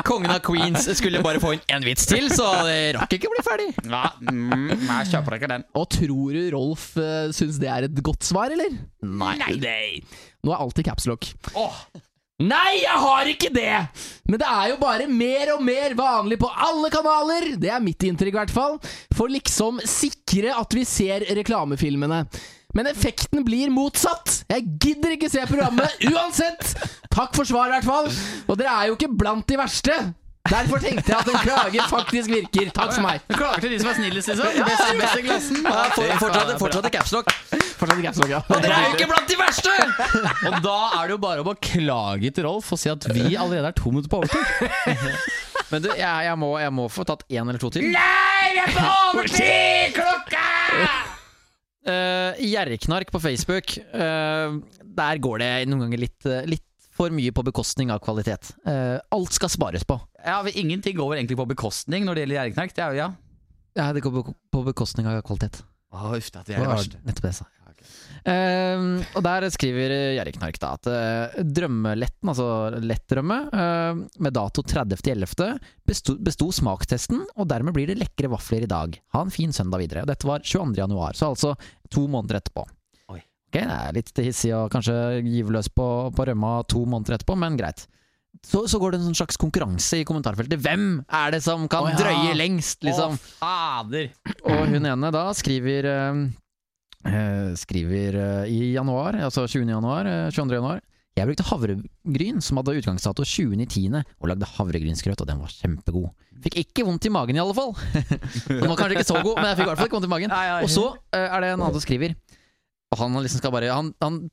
[SPEAKER 2] Kongen av Queens skulle bare få inn én vits til, så det rakk ikke å bli ferdig.
[SPEAKER 3] Ja, mm, nei, jeg kjøper ikke den.
[SPEAKER 1] Og tror du Rolf uh, syns det er et godt svar, eller?
[SPEAKER 3] Nei.
[SPEAKER 1] Nå er alltid capslock.
[SPEAKER 3] Åh,
[SPEAKER 1] Nei, jeg har ikke det! Men det er jo bare mer og mer vanlig på alle kanaler. Det er mitt inntrykk, i hvert fall. For liksom sikre at vi ser reklamefilmene. Men effekten blir motsatt. Jeg gidder ikke se
[SPEAKER 3] <laughs>
[SPEAKER 1] programmet uansett! Takk for svar, i hvert fall. Og dere er jo ikke blant de verste. Derfor tenkte jeg at en klage faktisk virker. Takk for meg.
[SPEAKER 3] du klager til de som er snillest, liksom? Best, best i klassen?
[SPEAKER 2] Ja, for, fortsatt fortsatt i capslock.
[SPEAKER 1] Fortsatt caps lock, ja.
[SPEAKER 2] Dere er jo ikke blant de verste!
[SPEAKER 3] Og da er det jo bare om å klage til Rolf og si at vi allerede er to minutter på overtid.
[SPEAKER 2] Men du, jeg, jeg, må, jeg må få tatt én eller to til.
[SPEAKER 3] Nei, vi er på overtid! Klokka!
[SPEAKER 2] <laughs> Eh, Gjerrknark på Facebook. eh, der går det noen ganger litt, eh, litt for mye på bekostning av kvalitet. Eh, alt skal spares på.
[SPEAKER 3] Ja, men Ingenting går egentlig på bekostning når det gjelder gjerringknark. Det er jo ja.
[SPEAKER 2] Ja, det går på- på bekostning av kvalitet.
[SPEAKER 3] Å, uff, det er det
[SPEAKER 2] Hva
[SPEAKER 3] verste.
[SPEAKER 2] Nettopp det jeg sa. Eh, og der skriver Gjerriknark da at eh, drømmeletten, altså lettdrømme, eh, med dato 30.11. Besto, besto smakstesten, og dermed blir det lekre vafler i dag. Ha en fin søndag videre. Og dette var 22. januar, så altså to måneder etterpå.
[SPEAKER 3] Oi.
[SPEAKER 2] Ok, det er litt hissig og kanskje gyve løs på, på rømma to måneder etterpå, men greit. Så, så går det en sånn slags konkurranse i kommentarfeltet. Hvem er det som kan
[SPEAKER 1] Å ja.
[SPEAKER 2] drøye lengst, liksom?
[SPEAKER 3] Å, fader.
[SPEAKER 2] Og hun ene da skriver eh, eh, Skriver eh, i januar, altså 20. januar, eh, 22. januar Jeg brukte havregryn som hadde utgangsdato 20. i 10. og lagde havregrynsgrøt, og den var kjempegod. Fikk ikke vondt i magen i alle fall. <laughs> den var kanskje ikke så god, men jeg fikk i hvert fall ikke vondt i magen.
[SPEAKER 3] Nei, nei.
[SPEAKER 2] Og så eh, er det en annen som skriver, og han liksom skal bare Han, han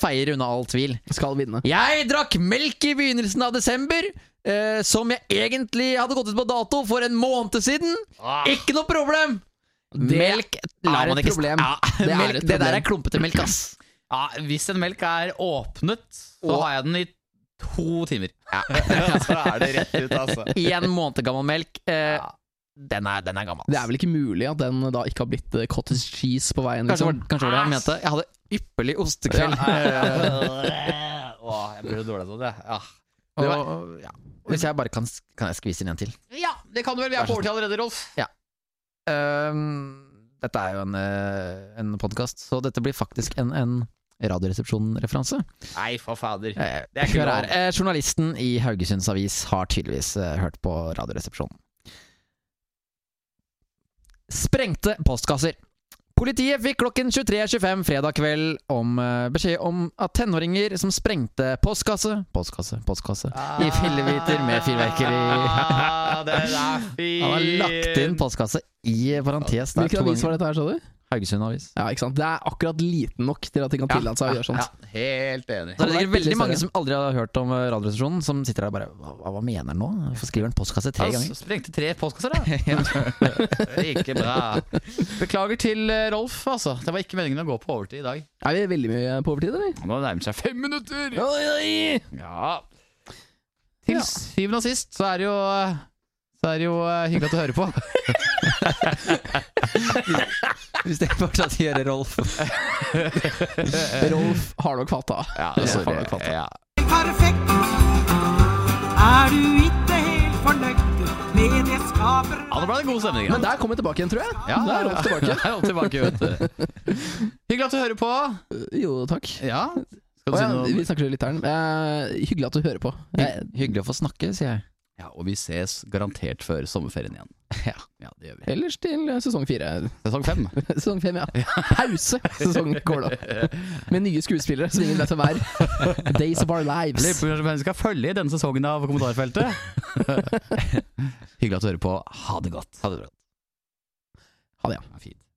[SPEAKER 2] feier unna all tvil.
[SPEAKER 1] Skal vinne.
[SPEAKER 2] Jeg drakk melk i begynnelsen av desember, eh, som jeg egentlig hadde gått ut på dato for en måned siden. Ikke noe problem!
[SPEAKER 1] Det
[SPEAKER 2] Ah. melk la man
[SPEAKER 1] er et
[SPEAKER 2] ikke-
[SPEAKER 1] problem.
[SPEAKER 2] Ja,
[SPEAKER 1] Det er
[SPEAKER 2] melk,
[SPEAKER 1] et
[SPEAKER 2] det der
[SPEAKER 1] problem.
[SPEAKER 2] er klumpete melk, ass.
[SPEAKER 3] Ja, hvis en melk er åpnet, så
[SPEAKER 2] Og-
[SPEAKER 3] har jeg den i to timer. <laughs>
[SPEAKER 6] Så er det rett ut, altså.
[SPEAKER 2] Én måned gammel melk. Eh, den, er, den er gammel.
[SPEAKER 1] Det er vel ikke mulig at den da ikke har blitt eh, cottage cheese på veien?
[SPEAKER 2] Kanskje det var
[SPEAKER 1] Liksom.
[SPEAKER 2] kanskje det var det jeg mente. Jeg hadde ypperlig ostekveld.
[SPEAKER 3] Åh, jeg Ah. blir så dårlig av det. Ja.
[SPEAKER 2] Og, ja. Hvis jeg bare kan, kan jeg skvise inn en til.
[SPEAKER 3] ja, det kan du vel. Vi er på overtid allerede, Rolf.
[SPEAKER 2] Ehm, dette er jo en, eh, en podkast, så dette blir faktisk en, en Radioresepsjonen-referanse.
[SPEAKER 3] Nei, for fader.
[SPEAKER 2] Eh,
[SPEAKER 3] Det er ikke
[SPEAKER 2] hør
[SPEAKER 3] lov.
[SPEAKER 2] her. Eh, journalisten i Haugesunds Avis har tydeligvis eh, hørt på Radioresepsjonen. Sprengte postkasser. Politiet fikk klokken 23.25 fredag kveld om eh, beskjed om at tenåringer som sprengte postkasse Postkasse, postkasse I fillebiter med <laughs> fyrverkeri.
[SPEAKER 3] Ah, den er fin!
[SPEAKER 2] Han har lagt inn postkasse i parentes. der to
[SPEAKER 1] Hvilken avis
[SPEAKER 2] ganger.
[SPEAKER 1] var dette her, sa du?
[SPEAKER 2] Haugesund Avis.
[SPEAKER 1] Ja, ikke sant? Det er akkurat liten nok til at de kan tillate seg å gjøre sånt.
[SPEAKER 3] Ja, helt enig.
[SPEAKER 2] Så det er sikkert
[SPEAKER 1] Det er
[SPEAKER 2] veldig
[SPEAKER 1] veldig
[SPEAKER 2] mange
[SPEAKER 1] serie.
[SPEAKER 2] som aldri har hørt om eh, Radioresepsjonen, som sitter der og bare Hva, hva- hva mener han nå? Hvorfor skriver han postkasse tre
[SPEAKER 3] Han
[SPEAKER 2] ganger?
[SPEAKER 3] sprengte tre postkasser, da. ikke bra. Beklager til eh, Rolf, altså. Det var ikke meningen å gå på overtid i dag.
[SPEAKER 1] Er vi veldig mye på overtid, eller?
[SPEAKER 3] Nå nærmer det seg fem minutter!
[SPEAKER 1] Oi, oi.
[SPEAKER 3] Ja. Til
[SPEAKER 1] Ja.
[SPEAKER 3] syvende og sist så er det jo eh, så er det jo eh, hyggelig at du hører på.
[SPEAKER 2] Hvis det fortsatt gjør Rolf.
[SPEAKER 1] Eh. Rolf har nok fatta.
[SPEAKER 3] <laughs> Ja,
[SPEAKER 1] sorry.
[SPEAKER 3] Ja.
[SPEAKER 5] Perfekt. Er du ikke helt fornøyd med det skaper
[SPEAKER 3] Ja, nå ble det god stemning.
[SPEAKER 1] Men der kom jeg tilbake igjen, tror jeg.
[SPEAKER 3] ja,
[SPEAKER 1] der er Rolf
[SPEAKER 3] <laughs>
[SPEAKER 1] tilbake.
[SPEAKER 3] Der er Rolf tilbake, vet du. Hyggelig at du hører på.
[SPEAKER 1] Jo, takk.
[SPEAKER 3] Ja. Skal du
[SPEAKER 1] Å,
[SPEAKER 3] si
[SPEAKER 1] ja,
[SPEAKER 3] noe?
[SPEAKER 1] vi snakker til lytteren. Eh, hyggelig at du hører på. Eh,
[SPEAKER 2] Hyggelig å få snakke, sier jeg.
[SPEAKER 3] Ja, og vi ses garantert før sommerferien igjen.
[SPEAKER 2] Ja.
[SPEAKER 3] <laughs> Ja, det gjør vi.
[SPEAKER 1] ellers til sesong fire. <laughs>
[SPEAKER 3] Sesong fem.
[SPEAKER 1] Sesong fem, ja. Pause! Sesong
[SPEAKER 3] <laughs>
[SPEAKER 1] går da. Med nye skuespillere som ingen vet hvem er.
[SPEAKER 3] <laughs>
[SPEAKER 1] Days of our
[SPEAKER 3] Lurer
[SPEAKER 1] lives.
[SPEAKER 3] på hvem som skal følge i denne sesongen av <laughs> kommentarfeltet. Hyggelig at du hører på. Ha det godt. Ha det bra.
[SPEAKER 1] Ha det, ja.
[SPEAKER 3] fint.